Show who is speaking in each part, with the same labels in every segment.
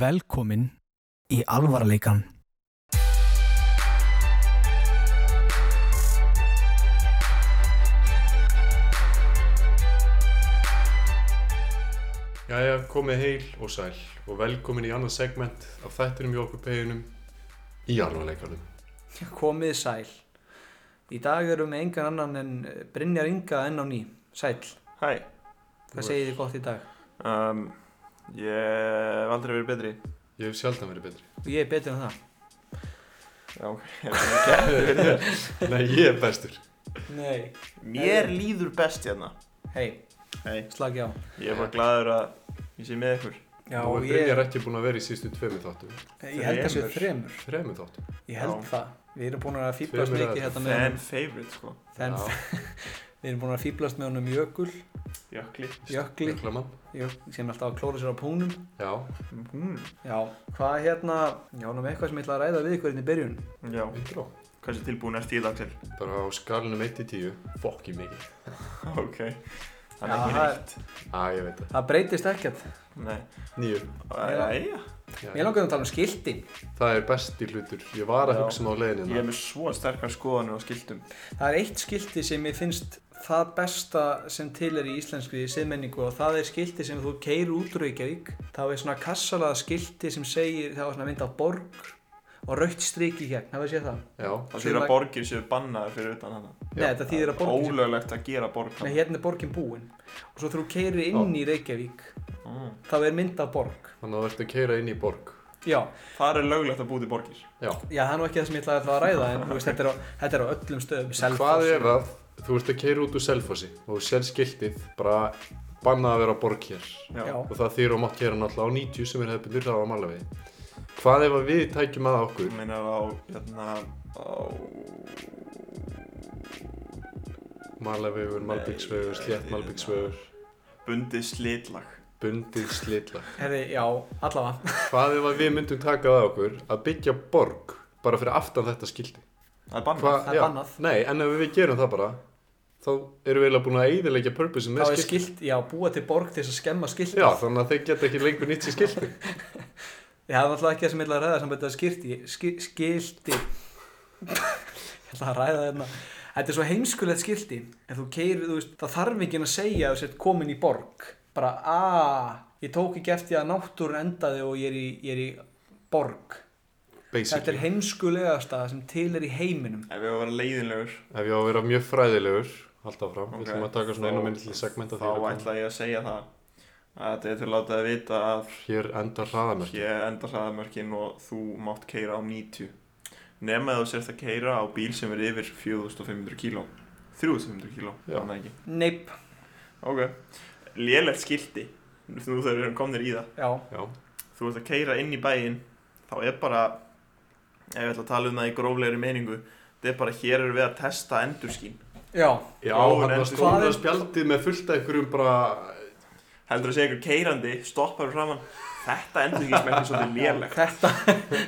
Speaker 1: Velkomin í alvarleikan.
Speaker 2: Jæja, komið heil og sæl og velkomin í annað segment af þættinum hjá okkur peginum í alvarleikanum.
Speaker 3: Komið sæl. Í dag erum við engan annan en eh, Brynjar Inga enn á ný. Sæl.
Speaker 4: Hæ,
Speaker 3: Hvað segir þið gott í dag?
Speaker 4: um, ég hef aldrei verið betri
Speaker 2: Ég hef sjaldan verið betri.
Speaker 3: Og ég er betur en það.
Speaker 4: Já, ok, ég hef ekki verið betri
Speaker 2: Nei, ég er bestur.
Speaker 3: Nei.
Speaker 4: Mér líður best hérna
Speaker 3: Hei,
Speaker 4: Hei,
Speaker 3: slagi á.
Speaker 4: ég er bara gladur að ég sé með ykkur
Speaker 3: Já,
Speaker 2: Nú er
Speaker 3: ég,
Speaker 2: Brynjar ekki búin að vera í sístu tveimu þáttum.
Speaker 3: ég held þessu þremur.
Speaker 2: Þreimu þáttum.
Speaker 3: Ég held
Speaker 4: Já.
Speaker 3: það. Við erum búin að fýblast
Speaker 2: Þremur
Speaker 3: mikið
Speaker 2: að-
Speaker 3: hérna með
Speaker 4: Fan
Speaker 3: honum.
Speaker 4: favorite, sko
Speaker 3: Þenn.
Speaker 2: Já,
Speaker 3: Við erum búin að fýblast með honum Jökul,
Speaker 4: Jökli
Speaker 3: Jökli,
Speaker 2: Jöklamann.
Speaker 3: Jök, sem er alltaf að klóra sér á púnum.
Speaker 2: Já,
Speaker 4: mm.
Speaker 3: Já, hvað hérna, já, nú með eitthvað sem ég ætla að ræða við ykkur hérna í byrjun.
Speaker 4: Já,
Speaker 2: yndró.
Speaker 4: hversu tilbúin ertu í dag til?
Speaker 2: Bara á skalinum 1 til 10. Fokki mikið.
Speaker 4: Ok, það
Speaker 3: Já,
Speaker 4: er
Speaker 3: það
Speaker 4: ekki
Speaker 3: er-
Speaker 4: neitt
Speaker 2: Á, ég veit það.
Speaker 3: Það breytist ekkert.
Speaker 4: Nei,
Speaker 2: Nýju.
Speaker 4: æja
Speaker 2: Já.
Speaker 3: Mér langar að tala um skiltin.
Speaker 2: Það er besti hlutur. Ég var að
Speaker 4: Já.
Speaker 2: hugsa maður á leiðinni.
Speaker 4: Ég er
Speaker 2: hérna.
Speaker 4: með svo sterkar skoðanir á skiltum
Speaker 3: Það er eitt skilti sem ég finnst það besta sem til er í íslenskri siðmenningu og það er skilti sem þú keir út úr Reykjavík. Það er svona kassalaða skilti sem segir, það var svona mynd af borg og rautt strik í gegn, hafið séð það?
Speaker 2: Já,
Speaker 4: Það þýðir að
Speaker 3: Sumar-
Speaker 4: borgir séu bannaðar fyrir utan hana
Speaker 3: Nei, þetta þýðir að borgin,
Speaker 4: Ólöglegt að gera borg
Speaker 3: nei, hérna er borgin búin. Og svo þú keirir inn í Reykjavík,
Speaker 4: Mm.
Speaker 3: þá er mynd af borg.
Speaker 2: þannig að þú ert að keira inn í borg.
Speaker 3: Já,
Speaker 4: Þar er löglegt að búti borgir
Speaker 2: Já.
Speaker 3: já, það er nú ekki það sem ég ætlaði að fá að ræða, en þú veist, þetta er á, þetta er á öllum stöðum.
Speaker 2: Hvað
Speaker 3: Selfoss.
Speaker 2: ef að þú ert að keira út úr Selfossi og þú sér skiltið bara bannað að vera borg hér
Speaker 3: Já,
Speaker 2: og það þýr og mátt gera náttúrulega á 90 sem er hefðbundur það á Malavegi. Hvað ef að við tækjum að
Speaker 4: Þú
Speaker 2: okkur?
Speaker 4: meinar á, hérna, á,
Speaker 2: Malavegur,
Speaker 4: Nei,
Speaker 2: Malbyggsvegur,
Speaker 4: nei,
Speaker 2: Slétt
Speaker 4: nei,
Speaker 2: Malbyggsvegur,
Speaker 4: bundið slitlag.
Speaker 2: bundið slitla.
Speaker 3: herri, já, allavega.
Speaker 2: Hvað ef að við myndum taka það á okkur að byggja borg bara fyrir aftan þetta skildi?
Speaker 4: Það er bannað.
Speaker 2: Hva-
Speaker 3: Það er
Speaker 2: já,
Speaker 3: bannað.
Speaker 2: Nei, en ef við gerum það bara, þá erum við eiginlega búin að eiðilegja purpose
Speaker 3: Þá
Speaker 2: með
Speaker 3: er
Speaker 2: skildi.
Speaker 3: skilt, já, búa til borg til þess að skemma skiltið.
Speaker 2: Já, þannig að þeir geta ekki lengur nýtt sér skildi.
Speaker 3: Ég hafði alltaf ekki það sem ég ætla að ræða sambandi að skilti, ski, skilti. ég ætla að ræða þarna. Þetta er svo heimskulegt skilti. En þú keirir, þú veist, það þarf ekki að segja að þú sért komin í borg. Bara, aaa, ég tók ekki eftir að náttúrun endaði og ég er í, ég er í borg. Þetta er
Speaker 2: Basically,
Speaker 3: heimskulegast að sem til er í heiminum.
Speaker 4: Ef við varum að vera leiðinlegur,
Speaker 2: ef ég á að vera mjög fræðilegur, alltaf fram, við
Speaker 4: Ok,
Speaker 2: ætlum að taka svona
Speaker 4: þá-
Speaker 2: einu minni til segmenta hérna
Speaker 4: þá ætla ég að segja það. Að þetta er til að láta það vita að
Speaker 2: Hér endar hraðamörk.
Speaker 4: ég enda hraðamörkin og þú mátt keira á 90. Nefn að þú sérst að keira á bíl sem er yfir 4500 kíló. 3500 kíló,
Speaker 2: Já.
Speaker 4: þannig ekki.
Speaker 3: Neip,
Speaker 4: Ok. Lélegt skildi, nú þegar við erum komnir í það.
Speaker 3: já,
Speaker 2: Já,
Speaker 4: þú ert að keira inn í bæinn þá er bara ef ég ætla að tala um það í gróflegri meiningu þetta er bara hér erum við að testa endurskín
Speaker 3: já,
Speaker 2: Já, hann
Speaker 4: Góður
Speaker 2: var
Speaker 4: endir.
Speaker 3: Hvað
Speaker 2: stóra
Speaker 3: er-
Speaker 2: spjaldið með fullt af einhverjum bara
Speaker 4: heldur að segja ykkur keirandi, stoppar framann þetta endurskín smekkir svolítið lélegt
Speaker 3: þetta,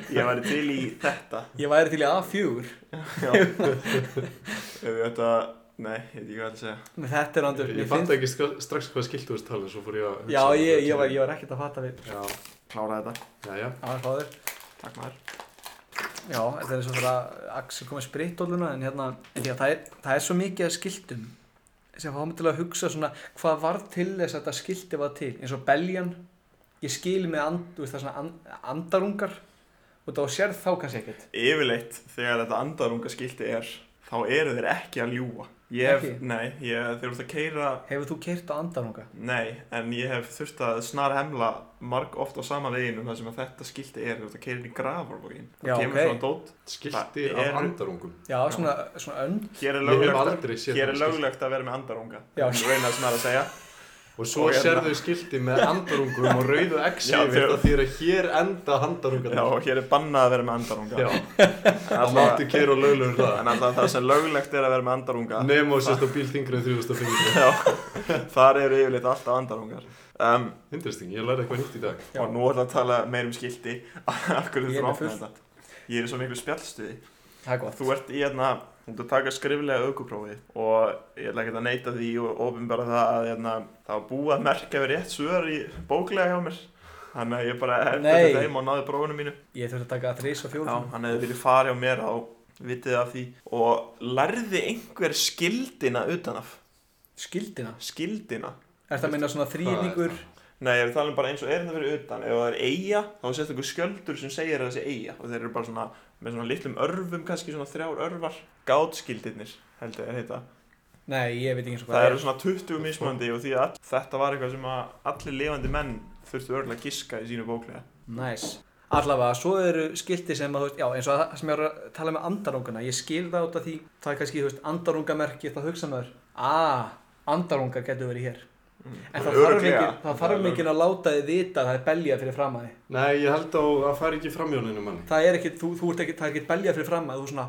Speaker 4: ég væri til í þetta
Speaker 3: ég væri til í A4.
Speaker 4: Já. ef ég ætla að nei, ég veit ekki hvað ég ætla að segja
Speaker 3: Men Þetta er andur,
Speaker 2: Ég fatt ekki stra- strax hvað skilt þú veist talið, svo fór ég að hugsa
Speaker 3: Já,
Speaker 2: um
Speaker 3: ég,
Speaker 2: þetta.
Speaker 3: ég, var, ég var ekkert að fatta við.
Speaker 2: Já,
Speaker 4: klára þetta,
Speaker 2: já, já,
Speaker 3: Já, fáður.
Speaker 4: takk maður
Speaker 3: Já, þetta er eins og þegar Axel kom með spritdóluna en hérna, en því að það er, það er svo mikið af skiltum sem fá mig til að hugsa svona hvað var til þess að þetta skilti var til eins og beljan, ég skil með and, þú veist, það er svona and, andarungar og þá sér þá kannski ekkert
Speaker 4: yfirleitt þegar þetta andarunga skildi er þá eru þeir ekki að ljúa ég hef,
Speaker 3: Ekki?
Speaker 4: nei, ég, þeir eru að keira
Speaker 3: Hefur þú keirt á andarunga?
Speaker 4: Nei, en ég hef þurft að snar hemla marg oft á sama veginum þar sem að þetta skilti er, þú veist að keira inn í grafarvogin
Speaker 3: Já,
Speaker 4: það kemur
Speaker 3: ok.
Speaker 4: svona dót,
Speaker 2: skilti
Speaker 4: Það
Speaker 2: af
Speaker 4: eru-
Speaker 2: andarungum
Speaker 3: Já, svona, svona önd
Speaker 4: hér er
Speaker 2: Ég hef
Speaker 4: löglegt
Speaker 2: aldrei séð
Speaker 4: hér er
Speaker 2: þannig skilti.
Speaker 4: löglegt að vera með andarunga
Speaker 3: Já.
Speaker 4: það er raunar sem er að segja
Speaker 2: Og svo
Speaker 4: Og hérna-
Speaker 2: sérðu skilti með andarungum og rauðu X
Speaker 4: Já,
Speaker 2: yfir
Speaker 4: þegar-
Speaker 2: það því að hér enda andarungar
Speaker 4: Já, og hér er bannað að vera með andarunga
Speaker 2: já
Speaker 4: en
Speaker 2: það
Speaker 4: alltaf,
Speaker 2: máttu kera og löglu um það
Speaker 4: en alltaf það sem löglegt er að vera með andarunga
Speaker 2: Nefn og sérst á bíl þingri en 3500
Speaker 4: Já, þar eru yfirleitt alltaf andarungar um,
Speaker 2: Interesting, ég lærði eitthvað nýtt í dag
Speaker 3: Já.
Speaker 4: og nú ætla að tala meir um skilti af
Speaker 3: Ég er
Speaker 4: hverju þú
Speaker 3: með
Speaker 4: ráfna
Speaker 3: fullt.
Speaker 4: þetta ég er í svo miklu spjallstuði
Speaker 3: Það er gott
Speaker 4: Þú ert í hérna, þú ert að taka skriflega aukuprófi og ég ætla ekki að neyta því og ofinbara það að hérna, það var búið að merkja við rétt svör í bóklega hjá mér Þannig að ég bara hefði
Speaker 3: Nei.
Speaker 4: þetta heim og náði bróðinu mínu
Speaker 3: Ég þurfti að taka að þrís og
Speaker 4: Já,
Speaker 3: fjórum
Speaker 4: hann hefði vilja fara hjá mér á vitið af því og lærði einhver skildina utanaf
Speaker 3: Skildina
Speaker 4: skildina
Speaker 3: Er það að minna svona þrýningur
Speaker 4: Nei, ég er að tala um bara eins og er það fyrir utan Ef það er eiga, þá er sett einhver skjöldur sem segir að þessi eiga Og þeir eru bara svona, með svona litlum örfum, kannski svona þrjár örfar Gátskildirnir, held ég að heita
Speaker 3: Nei, ég veit ekki eins og
Speaker 4: Það
Speaker 3: hvað
Speaker 4: eru svona 20 mismunandi og því að þetta var eitthvað sem að allir lifandi menn þurftu örgulega að giska í sínu bóklega
Speaker 3: Næs Allavega, svo eru skilti sem að, þú veist, já, eins og það sem ég var að tala með andarungana Ég skil það út af því, það er kannski, þú veist, andarungamerki Það hugsa maður, ah, andarungar getur verið hér Mm. En það þarf
Speaker 4: Örugglega.
Speaker 3: enginn- það þarf
Speaker 2: Örugglega.
Speaker 3: mikið að láta þið vita að það er belja fyrir framæði
Speaker 2: Nei, ég held að það fær ekki framjóninu manni.
Speaker 3: Það er ekkit, þú, þú ert ekkit, það er ekkit belja fyrir fram að þú svona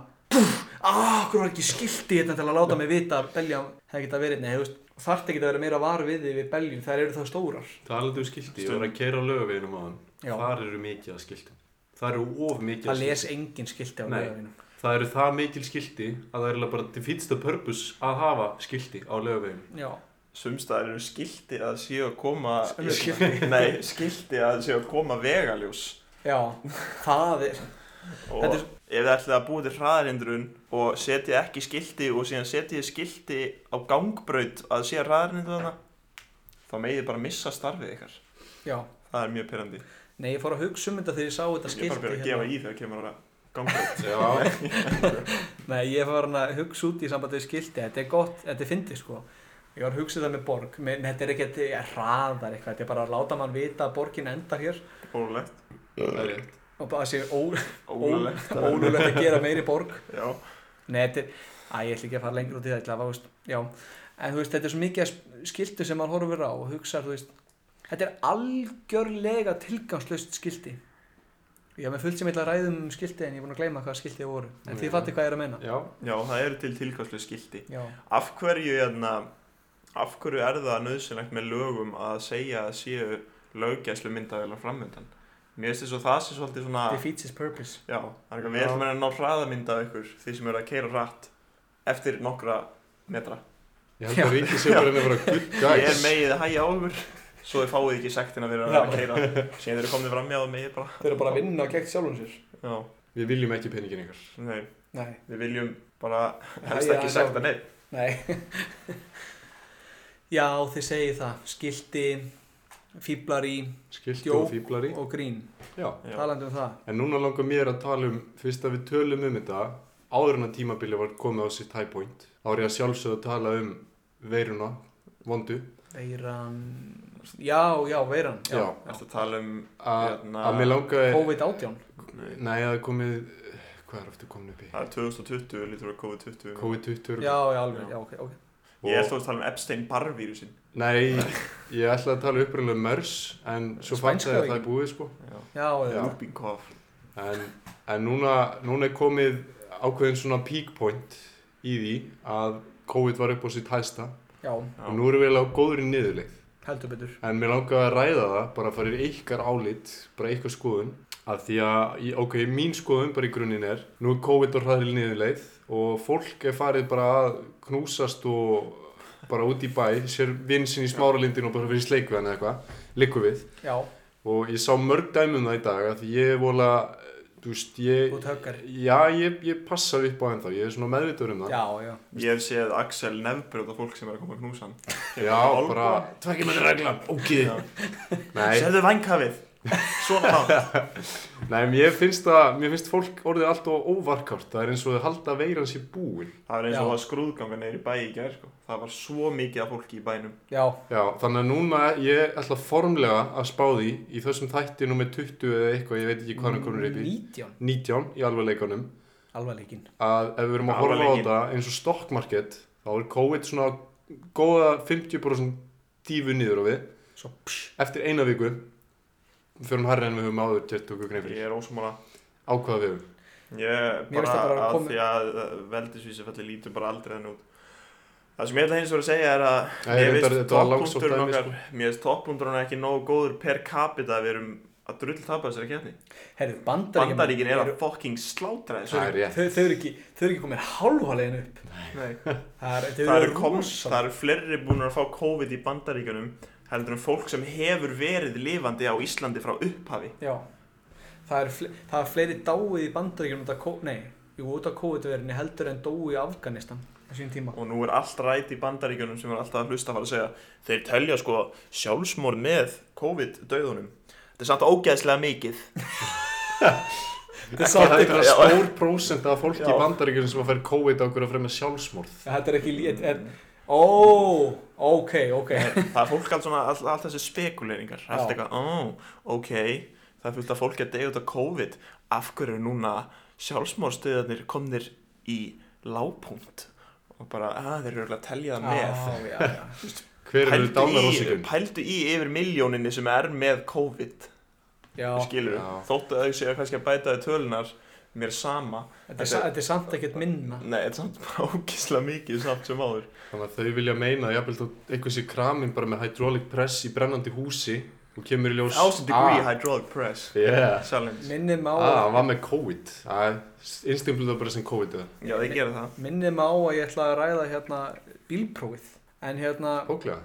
Speaker 3: Ah, hvernig var ekki skilti hérna til að láta mig vita að belja hefði geta verið, hérna?" nei, þú veist, þarf ekki að vera meira var við því við beljum, þær eru þá stórar
Speaker 2: Talandi um skilti, ég var að keira á lögaveginum á hann.
Speaker 3: Já.
Speaker 2: Þar eru mikið af skiltum. Það eru of mikið af
Speaker 3: Það
Speaker 2: skiltum.
Speaker 3: les engin skilti á
Speaker 2: Nei.
Speaker 3: lögavinum
Speaker 2: Það eru það mikil skilti að það er eiginlega bara defeats the purpose að hafa skilti á lögaveginum.
Speaker 3: Já,
Speaker 4: Sumstaðar eru skildi að séu að koma
Speaker 3: Önnur skilti.
Speaker 4: Nei, skildi að séu að koma vegaljós
Speaker 3: já, það er
Speaker 4: og
Speaker 3: Þetta er-
Speaker 4: ef þið ætlið að búa til hraðarindrun og setja ekki skildi og síðan setja þið skildi á gangbraut að sé hraðarindruna þá megið þið bara missa starfið ykkar
Speaker 3: Já,
Speaker 4: það er mjög pyrrandi
Speaker 3: nei, ég fór að hugsa um þetta þegar ég sá þetta
Speaker 4: ég er bara að
Speaker 3: skilti hérna.
Speaker 4: byrja að gefa í þegar kemur að gangbraut
Speaker 2: Já,
Speaker 3: Nei, ég var hann að hugsa út í sambandi við skilti, þetta er gott, þetta er fyndið sko. Ég var að hugsa það með borg, með, nei, þetta er ekki, þetta er hraðar eitthvað, þetta er bara að láta mann vita að borgin endar hér
Speaker 4: ólulegt
Speaker 2: það er rétt.
Speaker 3: og bara að sé ó-
Speaker 4: ólulegt
Speaker 3: ólulegt að gera meiri borg.
Speaker 4: já
Speaker 3: Nei, þetta er, að ég ætla ekki að fara lengur út í það, ég ætla að, þú veist, já, en þú veist, þetta er svo mikið af sp- skiltu sem maður horfir á og hugsar, þú veist, þetta er algjörlega tilgangslöst skilti. Ég haf með fullt sem ég ætla að ræðum um skilti en ég er búin að gleyma hvað skilti voru, en
Speaker 2: Já.
Speaker 3: þið fattir hvað ég er að meina.
Speaker 2: Já,
Speaker 4: já það eru til tilkastlega skildi
Speaker 3: Já,
Speaker 4: af hverju hérna af hverju er það nöðsynlegt með lögum að segja að séu löggæslu myndavélar framöndan mér finnst þess að það sé svolítið svona
Speaker 3: defeats its purpose.
Speaker 4: Já, það er eitthvað, við
Speaker 2: Já.
Speaker 4: ætlum að reyna að ná hraðamynda af ykkur því sem eru að keira hratt eftir nokkra metra
Speaker 2: ég held að Ríkis er bara að vera good
Speaker 4: Ég er
Speaker 2: guys.
Speaker 4: megið að hæja á ykkur svo þið fáið ekki sektina fyrir að vera að keira síðan þeir eru komnið fram hjá það megið bara
Speaker 3: Þeir eru bara að vinna gegn sjálfum sér.
Speaker 4: Já,
Speaker 2: Við viljum ekki peningin ykkar.
Speaker 4: nei,
Speaker 3: Nei,
Speaker 4: við viljum bara helst
Speaker 3: Hægja
Speaker 4: ekki
Speaker 3: aðeins á
Speaker 4: sekta neitt
Speaker 3: nei. Já, þið segið það. Skilti, fíblar í
Speaker 2: Skilti
Speaker 3: Jó.
Speaker 2: og fýblari.
Speaker 3: og grín.
Speaker 2: Já.
Speaker 4: Já.
Speaker 3: Talandi um það.
Speaker 2: En núna langar mér að tala um, fyrst að við tölum um þetta, áður en að tímabili var komið á sitt high point, þá er ég að sjálfsögðu að tala um veiruna, vondu,
Speaker 3: Veiran... Já, já, veiran.
Speaker 2: Já.
Speaker 4: Ertu að tala um
Speaker 2: að
Speaker 4: Hérna.
Speaker 2: að mér langaði,
Speaker 3: COVID-19.
Speaker 2: nei að komið, hvað er aftur komin upp í?
Speaker 4: það er 2020, lítur að COVID-20
Speaker 2: COVID-20
Speaker 3: Já, já, alveg.
Speaker 4: Já.
Speaker 3: Já, ok, ok.
Speaker 4: Ég er þó að tala um Epstein-Barr vírusin
Speaker 2: Nei, ég ætlaði að tala uppræðilega um MERS en svo fannst
Speaker 3: Spænska
Speaker 2: ég að það
Speaker 3: veikin.
Speaker 2: er búið sko
Speaker 4: Já,
Speaker 3: Já, já.
Speaker 4: Rubinkoff
Speaker 2: en, en núna, núna er komið ákveðin svona peak point í því að COVID var upp á sitt hæsta
Speaker 3: Já,
Speaker 2: og nú erum við eiginlega á góðri niðurleið
Speaker 3: heldur betur.
Speaker 2: en mér langaði að ræða það bara að fara yfir ykkar álit, bara ykkar skoðun að því að, í- ok, mín skoðun bara í grunninn er, nú er COVID á hraðil niðurleið og fólk er farið bara að knúsast og bara út í bæ, sér vinsinn í smáralindin og bara fyrir sleikveðan eða eitthvað, liggum við
Speaker 3: Já,
Speaker 2: og ég sá mörg dæmum það í dag að því ég er vola þú veist, ég
Speaker 3: þú tökkar.
Speaker 2: já, ég, ég passa upp á hann þá, ég er svona meðvitaður um það
Speaker 3: Já, já.
Speaker 4: Ég hef séð Axel nefnbrjóta fólk sem er að koma að knúsa hann
Speaker 2: já bara, tvekki með reglan, ok
Speaker 4: Já.
Speaker 2: nei,
Speaker 4: Sérðu vangkafið Svona hann
Speaker 2: nei, mér finnst það mér finnst fólk orðið alltaf óvarkárt það er eins og þau halda veiran sér búin
Speaker 4: Það var eins og
Speaker 3: Já.
Speaker 4: það var skrúðganga neyri bæ í gær sko. Það var svo mikið af fólki í bænum
Speaker 3: Já,
Speaker 2: já, þannig að núna ég ætla formlega að spá því í þessum þætti nummer 20 eða eitthvað, ég veit ekki hvað hann komur upp í
Speaker 3: 19.
Speaker 2: 19 í alveg leikunum
Speaker 3: Alveg líkin.
Speaker 2: að ef við erum að horfa á
Speaker 4: Alvarleikinn.
Speaker 2: þetta eins og stock market þá er COVID svona góða 50% dífu niður á við
Speaker 3: Svo, psh,
Speaker 2: eftir eina viku fyrir hún herri en við höfum áður gert okkur grein
Speaker 4: Ég
Speaker 2: fyrir
Speaker 4: er ósumála
Speaker 2: á hvaða vegu
Speaker 4: Ég
Speaker 3: Mér finnst
Speaker 4: bara
Speaker 3: það bara
Speaker 4: að
Speaker 3: komið-
Speaker 4: því að veldisvísi fætti lítur bara aldrei þannig út Það sem ég ætla hins vegar að segja er að
Speaker 2: Nei,
Speaker 4: Mér
Speaker 2: reyndar,
Speaker 4: finnst
Speaker 2: þetta var langsótt
Speaker 4: toppunkturinn
Speaker 2: dæmi, sko.
Speaker 4: okkar Mér finnst toppunkturinn ekki nógu góður per capita að við erum að drull tapa þessari keppni
Speaker 3: herrið, bandaríkjum.
Speaker 4: Bandaríkin er að fucking slátra
Speaker 2: það
Speaker 4: þessu
Speaker 2: er rétt
Speaker 3: Þau, þau eru ekki, þau eru ekki komin hálfa leiðin upp.
Speaker 4: Nei.
Speaker 3: Það er, þau
Speaker 4: Það
Speaker 3: eru
Speaker 4: eru kom-
Speaker 3: rosalega-
Speaker 4: það eru fleiri búin að fá COVID í bandaríkunum heldur en fólk sem hefur verið lifandi á Íslandi frá upphafi
Speaker 3: Já, það er, fle það er fleiri dáið í bandaríkjum út af COVID, nei, jú, út af COVID-verðinni heldur en dói í Afganistan á sín tíma.
Speaker 4: og nú er allt rætt í bandaríkjunum sem er alltaf að hlusta að fara að segja þeir telja sko sjálfsmorð með COVID-döðunum þetta er samt ógæðslega mikið
Speaker 3: Þetta er
Speaker 2: Það
Speaker 3: samt
Speaker 2: er
Speaker 3: eitthvað,
Speaker 2: bara
Speaker 4: já.
Speaker 2: stór prósent af fólki í
Speaker 4: Já.
Speaker 2: bandaríkjunum sem að fær COVID á okkur að fremja sjálfsmorð.
Speaker 3: þetta er ekki lít, er, ó, ok, ok,
Speaker 4: það er fólk allt svona, allt, allt þessi spekuleringar allt
Speaker 3: Já.
Speaker 4: eitthvað, ó, ok það er fullt af fólki að deyja út af COVID af hverju er núna sjálfsmórstuðarnir komnir í lágpunkt og bara, að þeir eru örugglega að telja það með
Speaker 3: Já, já, já.
Speaker 2: Hver eru
Speaker 4: Pældu í,
Speaker 2: dánarósökun?
Speaker 4: pældu í yfir miljóninni sem er með COVID
Speaker 3: Já,
Speaker 4: skilur,
Speaker 2: Já.
Speaker 4: þótt að þau séu kannski að bæta þau tölunar mér er sama,
Speaker 3: þetta er, sa- þetta er samt ekkert minna.
Speaker 4: nei, þetta er samt bara ógislega mikið samt sem áður
Speaker 2: Þannig að þau vilja meina að jafnvel þó einhvers í kramin bara með hydraulic press í brennandi húsi og kemur í ljós Ah,
Speaker 4: Thousand
Speaker 3: ah.
Speaker 4: degree hydraulic press
Speaker 2: Yeah.
Speaker 4: challenge,
Speaker 3: Minnið má,
Speaker 2: Ah,
Speaker 3: ah,
Speaker 2: hann var með COVID. Ah, Instimpluð það bara sem COVID eða.
Speaker 4: já þeir gera það
Speaker 3: minnið má að ég ætla að ræða hérna bílprófið, en hérna,
Speaker 2: Bóklega.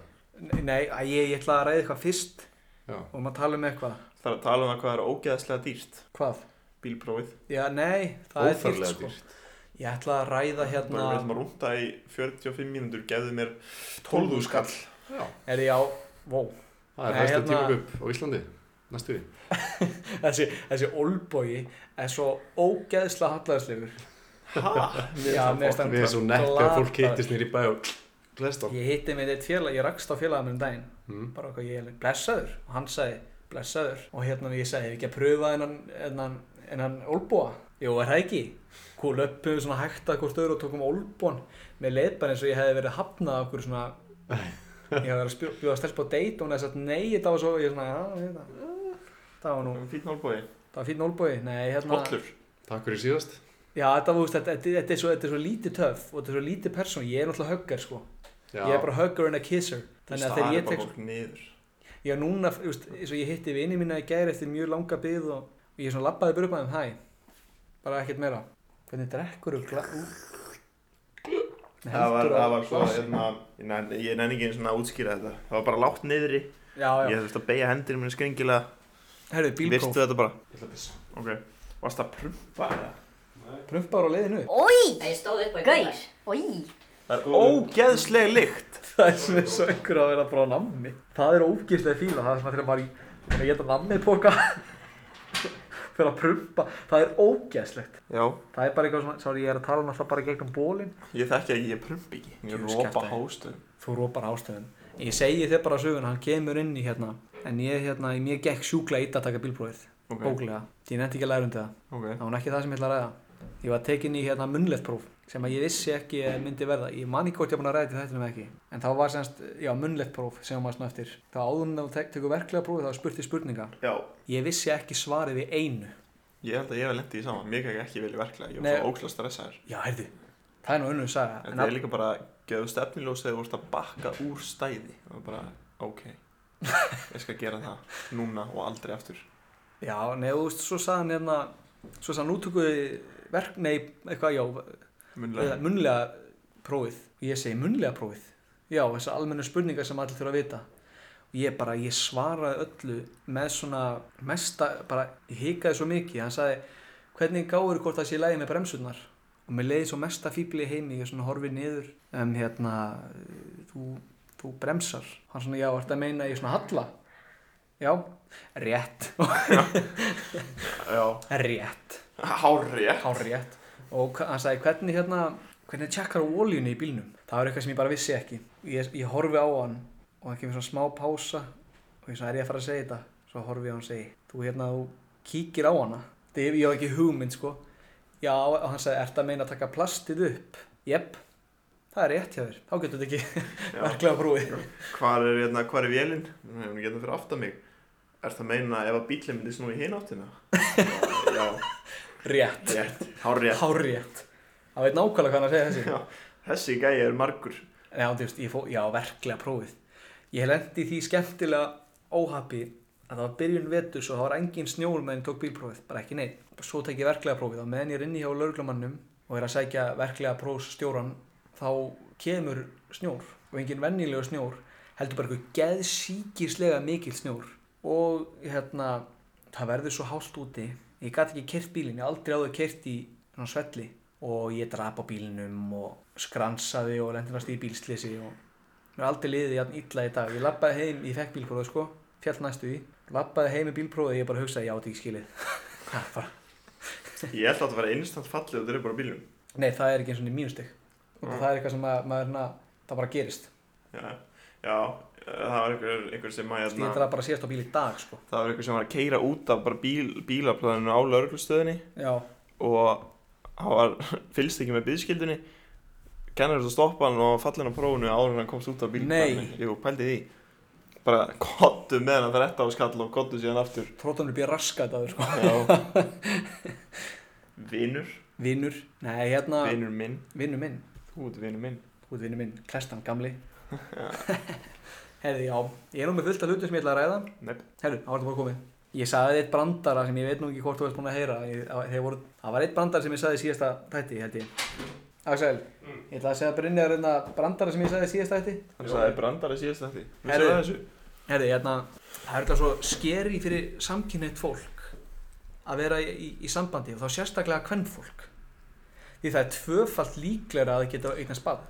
Speaker 3: nei, að ég, ég ætla að ræða eitthvað fyrst
Speaker 2: Já.
Speaker 3: og maður tala um eitthvað.
Speaker 4: það er að tala um það hvað er ógeðslega dýrt
Speaker 3: Hvað?
Speaker 4: bílprófið
Speaker 3: Já, nei, það er
Speaker 2: Óþarlega
Speaker 3: dýrt sko.
Speaker 2: dýrt.
Speaker 3: Ég ætla að ræða
Speaker 4: bara
Speaker 3: hérna...
Speaker 4: við ætlum að rúnta í 45 mínútur gefðu mér 12 þúsund kall
Speaker 2: Já,
Speaker 3: Er ég á, vó,
Speaker 2: það er
Speaker 3: Nei,
Speaker 2: hægsta
Speaker 3: hérna-
Speaker 2: tímagup á Íslandi. Næstu við.
Speaker 3: þessi, þessi olbogi er svo ógeðsla hallæðislegur.
Speaker 4: ha?
Speaker 3: Já, mér finnst
Speaker 4: það
Speaker 3: hann-
Speaker 2: Við erum svo nett þegar
Speaker 3: Glataður.
Speaker 2: fólk hittist nýri bæ og glest á.
Speaker 3: Ég hitti með eitt félag, ég rakst á félagum um daginn,
Speaker 2: Mm.
Speaker 3: bara okkar ég er blessaður og hann sagði blessaður og hérna ég sagði, hefur ekki að pröfa hennan, hennan, hennan olboga? Jó, er það ekki? Hvað löpum við svona hægt að hvort öðru og um tókum olbón með leitbar eins og ég hefði verið hafnað okkur svona, ég hefði verið að spjó- bjóða stelpa á date og hún hefði sagt nei, þetta var svo, ég svona, já, ég veit það, það var nú,
Speaker 4: fítn hálfbói
Speaker 3: það var fínn olbogi, nei, hérna,
Speaker 4: hotlur
Speaker 2: Takk fyrir síðast.
Speaker 3: Já, þetta, þú veist, þetta, þetta, þetta, er svo, þetta er svo lítið töff og þetta er svo lítið persón, ég er náttúrulega huggar sko
Speaker 2: Já.
Speaker 3: Ég er bara huggar and a kisser Þannig að þegar ég tek,
Speaker 4: fólk niður
Speaker 3: já núna, þú veist, eins og ég hitti vini mína í gæri eftir mjög langa byggð og, og ég svona labbaði bara upp að þeim, hæ Bara ekkert meira Hvernig drekkur þú gla... Nei,
Speaker 4: það var,
Speaker 3: heldur
Speaker 4: það
Speaker 3: að-
Speaker 4: var svo hérna, ég nenni- ég nenni ekki einu svona að útskýra þetta það var bara látt niðri
Speaker 3: Já,
Speaker 4: ég
Speaker 3: já,
Speaker 4: þurfti að beigja hendir mér skringilega
Speaker 3: herru,
Speaker 4: virtu
Speaker 3: bílpróf
Speaker 4: þetta bara ok varst það prumpa eða?
Speaker 3: Prumbar á leiðinu upp
Speaker 5: Oj! Ég stóð upp og Gauir! Oj!
Speaker 4: það er ógeðslega lykt
Speaker 3: Það er sem er svo einhver að vera bara á nammi Það er ógeðslega fíla, það er svona þegar maður í- þegar maður geta nammið póka Fyrir að prumpa, það er ógeðslegt
Speaker 4: já
Speaker 3: Það er bara eitthvað svona, sorry, ég er að tala náttúrulega bara gegnum bólinn.
Speaker 4: ég þekki ekki ég prumpi ekki
Speaker 3: Jú,
Speaker 4: ég ropa
Speaker 3: skemmta þér.
Speaker 4: hástöðum
Speaker 3: Þú rópar ástöðun. Ég segi þér bara söguna, hann kemur inn í hérna. En ég, hérna, ég mér gekk sjúkla ít að taka bílprófið.
Speaker 4: Ok.
Speaker 3: Bóklega. Ég nefndi ekki að læra um þetta.
Speaker 4: ok
Speaker 3: Það var nú ekki það sem ég ætla að ræða. Ég var tekinn í hérna munnlegt próf sem að ég vissi ekki að myndi verða. Ég man ekki hvort ég var búin að ræða til þetta með ekki. En þá var semst, já, munnlegt próf sem var svona eftir. Þá áður en þú tek- tekur verklega prófið þá er spurt í spurninga.
Speaker 4: já
Speaker 3: Ég vissi ekki svarið við einu.
Speaker 4: Ég held að ég hef lendið í sama, mér gekk ekki vel í verklega, ég
Speaker 3: Nei.
Speaker 4: var svo ókslega stressaður.
Speaker 3: Já, heyrðu, það er nú önnur saga. En
Speaker 4: Þetta er líka bara, gefðu stefniljós þegar þú vorst að bakka úr stæði. Og bara, ok, ég skal gera það núna og aldrei aftur.
Speaker 3: Já, nei, þú veist, svo sagði hann hérna, svo sagði hann útökuði verk, nei, eitthvað, já,
Speaker 4: Munlega.
Speaker 3: munlega prófið. Og ég segi munlega prófið. Já, þessar almennu spurningar sem allir þurfa að vita. Og ég bara, ég svaraði öllu með svona mesta, bara, ég hikaði svo mikið. Hann sagði, hvernig gáður hvort það sé í lagi með bremsurnar? Og mér leiði svo mesta fíbli í heimi, ég svona horfið niður, um, hérna, þú, þú bremsar. Hann svona, já, ertu að meina að ég svona halla? Já, rétt.
Speaker 4: Já,
Speaker 3: rétt.
Speaker 4: hárið.
Speaker 3: Hárétt og hva- hann sagði hvernig hérna hvernig tjekkar á oljunni í bílnum það var eitthvað sem ég bara vissi ekki ég, ég horfi á hann og hann kemur svona smá pása og ég sagði er ég að fara að segja þetta svo horfi ég á hann og segi þú hérna þú kíkir á hana þetta ég, ég hef ekki hugmynd sko já og hann sagði ert að meina að taka plastið upp jepp það er rétt hjá þér þá getur þetta ekki verklega brúið
Speaker 4: Hvar er, hérna, hvar er vélinn? Hún er hérna fyrir aftan mig. Er það meina ef að bílinn myndi snúi í hináttina? Já,
Speaker 3: rétt
Speaker 4: rétt, hárið.
Speaker 3: hárétt það veit nákvæmlega hvað hann er að segja þessi
Speaker 4: Já, þessi gæi er margur.
Speaker 3: Já, þú veist, ég fó, já, verklega prófið. Ég lendi því skemmtilega óhappy að það var byrjun vetur svo það var engin snjór meðan ég tók bílprófið, bara ekki neitt. Svo tek ég verklega prófið og meðan ég er inni hjá lauruglumannum og er að sækja verklega prófstjóran þá kemur snjór og engin vennilegur snjór heldur bara eitthvað geðsíkislega mikil snjór og hérna það verður svo hált úti ég gat ekki kert bílinn, ég hef aldrei áður kert í svona svelli og ég drap á bílinum og skransaði og lendi fast í bílslisi og mér er aldrei liðið jafn illa í dag ég lappaði heim, ég fekk bílprófið sko fjall næstu í, lappaði heim í bílprófið ég bara hugsaði, ég átti ekki skilið Það er bara,
Speaker 4: Ég held að þetta var einstant fallið og þetta er bara á bílnum.
Speaker 3: nei, það er ekki eins og niður mínustig og
Speaker 4: Mm.
Speaker 3: það er eitthvað sem að, maður, na, það bara gerist
Speaker 4: Já, já það var einhver, einhver sem að hérna,
Speaker 3: ég draf bara síðast á bíl í dag sko
Speaker 4: það var einhver sem var að keira út af bara bíl, bílaplöðinu á lauruglustöðinni
Speaker 3: já,
Speaker 4: og hann var fylgst ekki með bíðskildunni kennur þess að stoppa hann og falla hann á prófunu áður en hann komst út af bílplöðinu
Speaker 3: Nei.
Speaker 4: Jú, pældi því bara kottu með hann að þetta á skall og kottu síðan aftur
Speaker 3: þróttanur býr raskat á þér sko
Speaker 4: Já Vinur,
Speaker 3: vinnur, nei, hérna,
Speaker 4: vinur minn
Speaker 3: vinnur minn
Speaker 4: Þú ert vinur minn
Speaker 3: Þú ert vinnu minn, klestan gamli Herði, já, ég er nú með fullt af hlutum sem ég ætla að ræða
Speaker 4: Nei,
Speaker 3: Herðu, það var þetta bara komið Ég sagði eitt brandara sem ég veit nú ekki hvort þú veist búin að heyra ég, á- þeir voru, Það var eitt brandara sem ég sagði í síðasta þætti, held ég Axel, ég ætla að segja Brynjar hérna brandara sem ég sagði í síðasta þætti
Speaker 4: hann sagði brandara síðast þetta Við
Speaker 3: Herðu.
Speaker 4: sagði þessu
Speaker 3: Herði, hérna, það er þetta svo skeri fyrir samkynneitt fólk að vera í, í, í sambandi og þá sérstaklega kvennfólk Því það er tvöfalt líklega að geta eignast barn.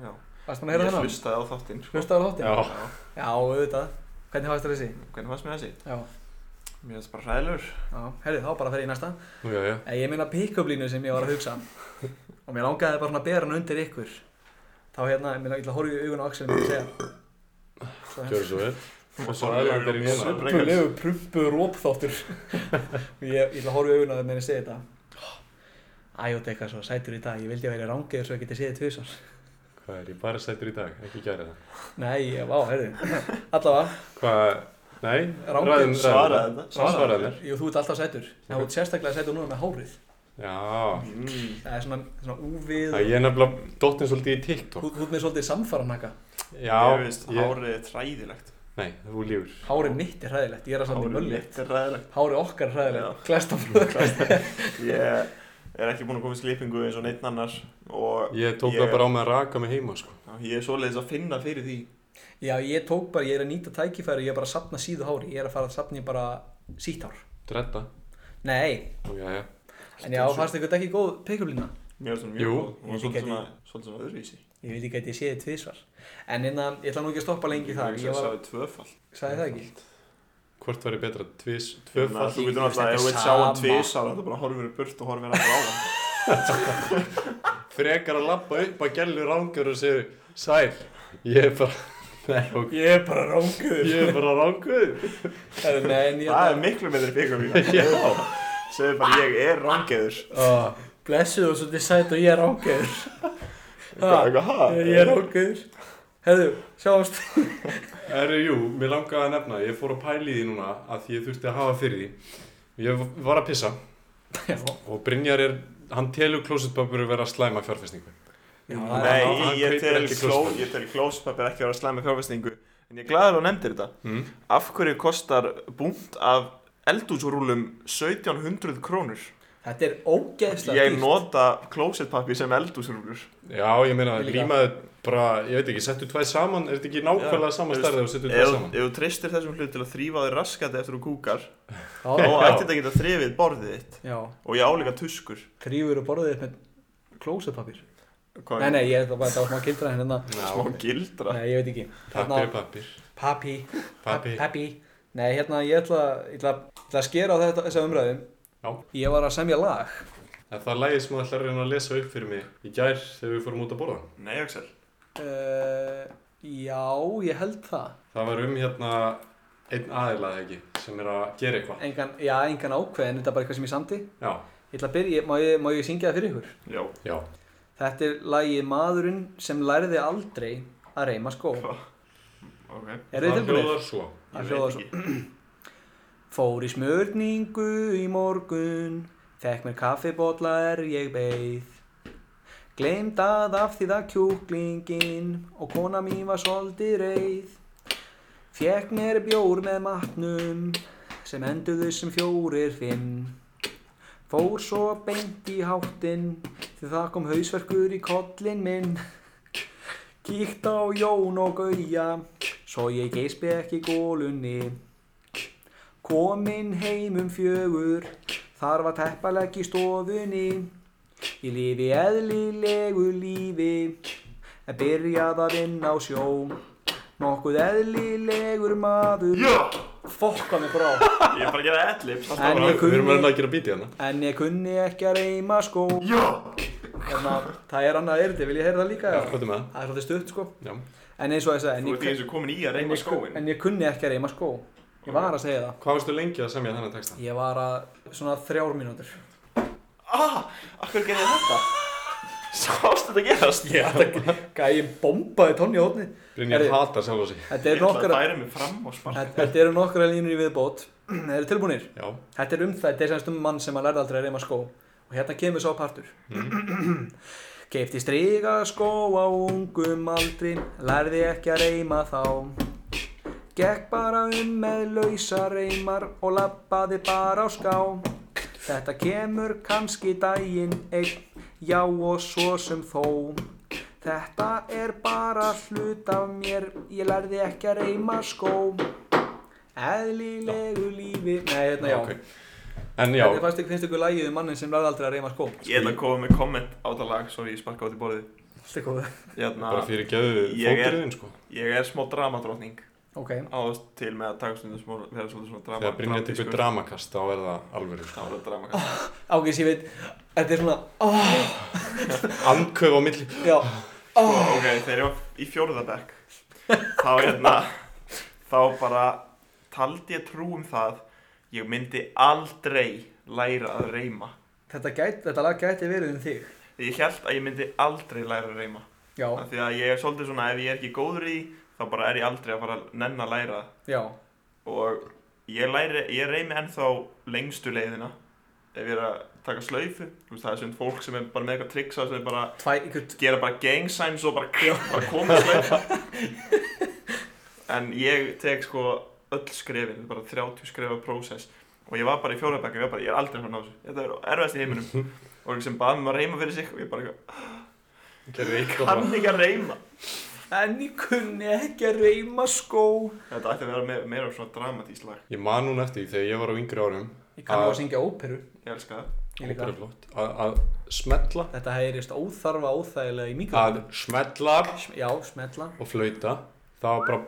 Speaker 4: Já,
Speaker 3: Varstu búin að heyra
Speaker 4: ég
Speaker 3: þennan?
Speaker 4: hlustaði á þáttinn sko.
Speaker 3: Hlustaðu á þáttinn?
Speaker 2: Já.
Speaker 4: Já.
Speaker 3: Já, auðvitað. Hvernig fannst þér þessi?
Speaker 4: Hvernig fannst mér þessi?
Speaker 3: Já.
Speaker 4: Mér finnst bara hræðilegur.
Speaker 3: Já, herri, þá bara fer ég í næsta.
Speaker 2: Nú, já, já.
Speaker 3: Eh, Ég meina pick-up línu sem ég var að hugsa. Og mér langaði bara svona að bera hann undir ykkur. Þá hérna, ég meina, ég ætla að horfa í augun á Axel og segja. hérna.
Speaker 2: Gjörðu svo vel. Og svo
Speaker 4: Bara
Speaker 2: aðlandir í
Speaker 4: svo
Speaker 2: hérna.
Speaker 4: frekar.
Speaker 3: prumpu, rópþáttur. ég, ég ætla að horfa í augun á þeim en ég segi þetta. Æjótt eitthvað svo sætur í dag. Ég vildi að vera rángið svo ég geti séð tvisar.
Speaker 2: Hvað er ég bara sættur í dag? Ekki gæra það.
Speaker 3: Nei, ég, vá, herri. Allavega,
Speaker 2: Hvað? Nei,
Speaker 3: Rangur
Speaker 4: svaraði þetta.
Speaker 2: Svaraði
Speaker 4: Svaraði
Speaker 2: þetta.
Speaker 3: jú, þú ert alltaf sætur. Nei, Þú ert sérstaklega sætur núna með hárið.
Speaker 2: Já.
Speaker 4: Mm.
Speaker 3: Það er svona, svona úfið.
Speaker 2: Það ég er nefnilega dottin svolítið í
Speaker 3: Þú
Speaker 2: TikTok.
Speaker 3: þú ert með svolítið samfaranaka.
Speaker 2: Já.
Speaker 4: Mér finnst
Speaker 2: ég-
Speaker 4: hárið er hræðilegt.
Speaker 2: Nei, þú lífur.
Speaker 3: Hárið mitt er hræðilegt, ég er að sanda í mölli.
Speaker 4: mitt er hræðilegt.
Speaker 3: Hárið okkar er hræðilegt,
Speaker 4: Já.
Speaker 3: klestafröð.
Speaker 4: Ég er ekki búinn að koma í slipingu eins og neitt annars og
Speaker 2: Ég tók
Speaker 4: Ég-
Speaker 2: það bara á með að raka mig heima, sko.
Speaker 4: ég er svoleiðis að finna fyrir því.
Speaker 3: Já, ég tók bara, ég er að nýta tækifæri, ég er bara að sapna síðu hári, ég er að fara að sapna í bara sítt hár.
Speaker 2: Dredda.
Speaker 3: Nei,
Speaker 2: Nú, já, já.
Speaker 3: en já, fannst ykkur þetta ekki góð peikumlína?
Speaker 4: Mér finnst hún
Speaker 2: Jú.
Speaker 4: mjög góð. Hún
Speaker 3: Ég
Speaker 4: er svolítið
Speaker 3: gæti-
Speaker 4: svona, svolítið svona öðruvísi.
Speaker 3: Ég veit ekki að ég séði tvísvar. En innan, ég ætla nú ekki að stoppa lengi þar,
Speaker 4: Ég
Speaker 3: ég
Speaker 4: hugsa að
Speaker 3: var,
Speaker 4: það er tvöfall.
Speaker 3: sagði það ekki?
Speaker 2: Hvort væri betra? Tvís,
Speaker 4: Ég meina,
Speaker 2: tvöfall?
Speaker 4: Þú getur
Speaker 3: Ég finnst
Speaker 4: náttúrulega, ef
Speaker 3: þetta
Speaker 4: þú veit sjá hann
Speaker 3: sama.
Speaker 4: tvísar, þetta bara horfir í burt og horfir aftur á hann.
Speaker 2: Frekar að lappa upp að gælu rangur og segja, sæl, ég er bara, nei, ok,
Speaker 3: Ég er bara ránguður.
Speaker 2: ég er bara rangur.
Speaker 3: Nei, en ég
Speaker 4: Það er miklu með þeirri byggjum
Speaker 2: Já.
Speaker 4: Segðu bara, ég er rangeður.
Speaker 3: Ó, Blessuð og svolítið sætt og ég er ránguður.
Speaker 4: Hvað, hvað, ha?
Speaker 3: Ég er ránguður. Herðu, sjáumst.
Speaker 2: Erðu, jú, mér langaði að nefna, ég fór að pæli því núna að því ég þurfti að hafa fyrir því. Ég var að pissa
Speaker 3: Já,
Speaker 2: og Brynjar er, hann telur klósetpapur vera slæma fjárfestingu.
Speaker 3: já,
Speaker 4: Nei,
Speaker 2: Hann- hann
Speaker 4: ég,
Speaker 2: kaupir
Speaker 4: ég, tel
Speaker 2: ekki
Speaker 4: kló,
Speaker 2: klóspapír.
Speaker 4: ég tel klóspapir ekki að vera slæmi fjárfestingu En ég er glæður og nefndir þetta
Speaker 2: Mm.
Speaker 4: Af hverju kostar búnt af eldúsrúlum 1700 krónur?
Speaker 3: Þetta er ógeðslega
Speaker 4: Ég nota klósettpappi sem eldúsrúlur
Speaker 2: Já, ég meina,
Speaker 3: Ég líka.
Speaker 2: límaðu bara, ég veit ekki, settu tvær saman, er þetta ekki nákvæmlega
Speaker 4: Já.
Speaker 2: sama
Speaker 4: Ef-
Speaker 2: stærðið og settu tvær
Speaker 4: Ef
Speaker 2: saman?
Speaker 4: ef þú treystir þessum hlut til að þrýfa þér raskat eftir þú kúkar Þá
Speaker 3: Já,
Speaker 4: ætti þetta að geta þrifið borðið þitt
Speaker 3: já.
Speaker 4: Og ég álíka tuskur
Speaker 3: Þrýfur og borðið þitt með klósetpapir
Speaker 4: Hvað
Speaker 3: Nei,
Speaker 4: er
Speaker 3: nei, ég þetta var bara smá gildra hérna
Speaker 2: Já,
Speaker 4: smá gildra?
Speaker 3: Nei, ég veit ekki
Speaker 2: pappir er pappir.
Speaker 3: Pappi
Speaker 2: Pappi.
Speaker 3: Pappi Nei, hérna, ég ætla, ég ætla, ég ætla að skera á þetta, þessa umræðum
Speaker 2: Já.
Speaker 3: Ég var að semja lag
Speaker 2: Er það lægið sem þú ætlar að reyna að lesa upp fyrir mig í gær þegar við fórum út að borða?
Speaker 4: Nei, Axel
Speaker 3: uh, Já, ég held það
Speaker 2: Það var um hérna einn aðilað ekki sem er að gera eitthvað.
Speaker 3: Engan, já, engan ákveðin, þetta er bara eitthvað sem ég samti
Speaker 2: Já,
Speaker 3: Ég ætla að byrja, má ég, má ég syngja það fyrir ykkur?
Speaker 4: Já
Speaker 2: já.
Speaker 3: Þetta er lagið Maðurinn sem lærði aldrei að reyma skó
Speaker 4: Hva? Ok
Speaker 3: Eru þið
Speaker 2: það
Speaker 3: tilbúinir?
Speaker 2: hljóðar svo.
Speaker 3: Það
Speaker 4: Ég
Speaker 3: hljóðar
Speaker 4: veit
Speaker 3: svo.
Speaker 4: ekki
Speaker 3: Fór í smörningu í morgun, fekk mér kaffibotla er ég beið. Gleimt að af því það kjúklingin og kona mín var svolítið reið. Fekk mér bjór með matnum sem enduðu sem fjórir fimm. Fór svo beint í háttinn því það kom hausverkur í kollin minn. Kíkt á Jón og Gauja Svo ég geisbekk í gólunni Komin heim um fjögur Þar var teppalegg í stofunni Ég lifi eðlilegu lífi En byrjað að vinna á sjó Nokkuð eðlilegur maður
Speaker 4: Já!
Speaker 3: Fokka mig frá
Speaker 4: Ég er bara að gera adlibs
Speaker 3: En
Speaker 2: Bara, Við erum
Speaker 3: ég
Speaker 2: að
Speaker 3: kunni,
Speaker 2: reyna að gera bítið hérna
Speaker 3: en ég kunni ekki að reyma skó
Speaker 4: Já!
Speaker 3: Hérna, það er annað erindi, vil ég heyra það líka?
Speaker 2: Já, hvað er með það?
Speaker 3: Það er svolítið stutt sko
Speaker 2: Já,
Speaker 3: En eins og þess að
Speaker 4: Þú ert í
Speaker 3: en,
Speaker 4: þessu komin í að
Speaker 3: en, ég
Speaker 4: reyma
Speaker 3: kun-
Speaker 4: skóin
Speaker 3: en ég kunni ekki að reyma skó Ég var að segja það
Speaker 2: hvað varstu lengi að semja þennan texta?
Speaker 3: Ég var að svona þrjár mínútur
Speaker 4: Ah! Akkur gerði ég þetta? Sástu þetta gerast? Já, þetta
Speaker 3: Gæði bombaði tónni á hótni
Speaker 2: Brynjar
Speaker 3: Herri.
Speaker 2: hatar sjálf og sig
Speaker 3: Þetta
Speaker 4: er
Speaker 3: eru nokkra
Speaker 4: nokkara Það færi mig fram og sparka
Speaker 3: Þetta þetta eru nokkra línur í viðbót Þeir eru tilbúinir
Speaker 2: Já,
Speaker 3: Þetta er um það, þetta er semst um mann sem að lærða aldrei að reyma skó Og hérna kemur svo partur Keipti stríga skó á ungum aldri Lærði ekki að reyma þá Gekk bara um með lausa reymar Og lappaði bara á ská Þetta kemur kannski daginn einn Já og svo sem þó Þetta er bara hlut af mér Ég lærði ekki að reyma skó Eðlilegu lífi Nei, hérna já
Speaker 2: ok En já,
Speaker 3: Þetta fannst ykkur, finnst ykkur lægið um mannin sem lærði aldrei að reyma skó
Speaker 4: Ég ætla að koma með komment á það lag Svo ég sparka út í borðið
Speaker 3: Þetta er góð
Speaker 4: Jæna,
Speaker 2: bara fyrir geðu
Speaker 4: Ah, Ég er-
Speaker 2: fótriðin sko
Speaker 4: Ég er smá dramadrótning
Speaker 3: Ok,
Speaker 4: Áðast til með að taka stundum smá Við erum svolítið svona drama
Speaker 2: Þegar Brynjar tekur dramakast þá er það alveg sko.
Speaker 4: Það var dramakast
Speaker 3: ákveðis ég veit Þetta er svona oh,
Speaker 2: Andköf á milli
Speaker 3: Já,
Speaker 4: Sko, ok, þegar ég var í fjórðabekk þá hérna þá bara taldi ég trú um það ég myndi aldrei læra að reyma
Speaker 3: þetta, gæti, þetta lag gæti verið um þig
Speaker 4: ég held að ég myndi aldrei læra að reyma
Speaker 3: Já,
Speaker 4: af því að ég er svolítið svona ef ég er ekki góður í því, þá bara er ég aldrei að fara að nenn að læra
Speaker 3: já,
Speaker 4: og ég, læri, ég reymi ennþá lengstu leiðina ef ég er að taka slaufu þú veist, það er svona fólk sem er bara með eitthvað triksa sem er bara
Speaker 3: tvæ, ykkur
Speaker 4: gera bara gang signs og bara, bara koma að slaufa en ég tek sko öll skrefin, bara 30 skrefa process og ég var bara í fjórabæk og ég var bara, ég er aldrei hann á þessu, þetta er erfast í heiminum og einhver sem baði mig að reyma fyrir sig og ég bara,
Speaker 2: Gerðu eitthvað bara
Speaker 4: hann ekki að reyma
Speaker 3: En ég kunni ekki að reyma skó
Speaker 4: þetta ætti að vera meira, meira svona dramatísk lag,
Speaker 2: Ég man núna eftir því þegar ég var á yngri árum
Speaker 3: Ég kann nú
Speaker 2: Ah.
Speaker 3: að syngja óperu
Speaker 4: ég elska það
Speaker 3: Ég
Speaker 2: og
Speaker 3: líka.
Speaker 2: bara flott, að- Að smetla
Speaker 3: Þetta heyrist óþarfa óþægilega í
Speaker 2: Að
Speaker 3: mikrofónu
Speaker 2: smetla
Speaker 3: Já, smetla
Speaker 2: og flauta Það var bara,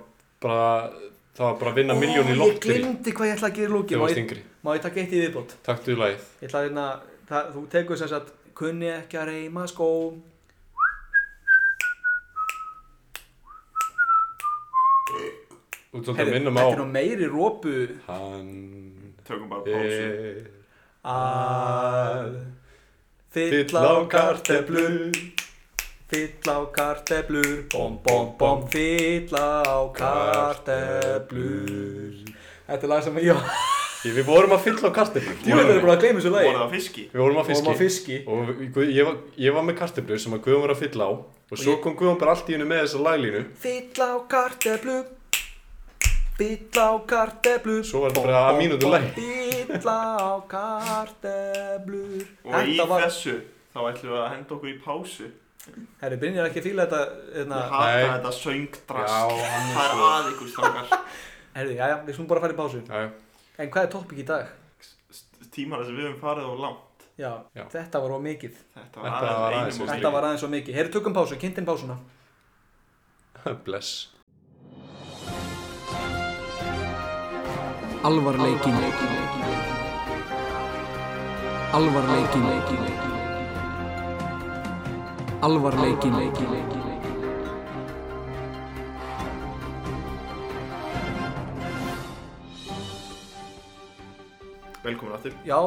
Speaker 2: bara Það var bara að vinna miljóni
Speaker 3: Ó, Ég
Speaker 2: lottri
Speaker 3: glimti hvað ég ætla að gera í
Speaker 2: Þegar
Speaker 3: lókin Má
Speaker 2: varst
Speaker 3: ég,
Speaker 2: yngri
Speaker 3: má ég taka eitt í viðbót?
Speaker 2: Takktu í lagið
Speaker 3: Ég ætla að hérna, það, þú tekur sem sagt kunni ekki að reyma skó
Speaker 2: Út svolítið að
Speaker 3: Heyrðu,
Speaker 2: minna
Speaker 3: Þetta
Speaker 2: mig
Speaker 3: er
Speaker 2: á
Speaker 3: nú meiri rópu
Speaker 2: Hann Eh,
Speaker 4: tökum bara pásu
Speaker 2: er
Speaker 3: að
Speaker 2: Fyll
Speaker 3: fylla
Speaker 2: á
Speaker 3: á
Speaker 2: karteflu
Speaker 3: karteblur fylla á karteblur bom bom bom fylla á karteblur Þetta er lag sem ég, já,
Speaker 2: Ég- Við vorum að fylla á karteflu
Speaker 3: ég veit að það er bara að gleyma þessu lagi
Speaker 4: voru það fiski
Speaker 2: Við vorum að
Speaker 3: Fórum á
Speaker 2: fiski
Speaker 3: fiski
Speaker 2: Og við- Guð- ég var, ég var með karteflu sem að Guðum var að fylla á Og svo
Speaker 3: ég-
Speaker 2: kom Guðum bara allt í hennu með þessa laglínu
Speaker 3: Fyll á karteflu Fyll á karteflu
Speaker 2: Svo var þetta bara að mínútu lagi.
Speaker 3: Fyll á karteflur
Speaker 4: og í
Speaker 3: Þetta var
Speaker 4: þessu þá ætlum við að henda okkur í pásu
Speaker 3: Herri, Brynjar ekki að fíla þetta hérna,
Speaker 4: ég hata
Speaker 2: Nei.
Speaker 4: þetta söngdrask
Speaker 2: Já, hann er
Speaker 4: það er
Speaker 2: svo-
Speaker 4: að ykkur strákar
Speaker 3: Herri, já, já, við slum bara að fara í pásu
Speaker 2: Já, já.
Speaker 3: En hvað er toppik í dag?
Speaker 4: tímana sem við höfum farið á langt
Speaker 3: Já,
Speaker 2: Já.
Speaker 3: þetta var of mikið
Speaker 4: þetta
Speaker 2: Þetta
Speaker 4: var aðeins
Speaker 2: var aðeins of
Speaker 4: einum of mikið.
Speaker 3: Þetta var aðeins of mikið Herri, tökum pásu, kynntinn pásuna
Speaker 2: Bless
Speaker 1: Alvarleikin Alvarleikin Alvarleikin
Speaker 4: velkomin aftur
Speaker 3: Já,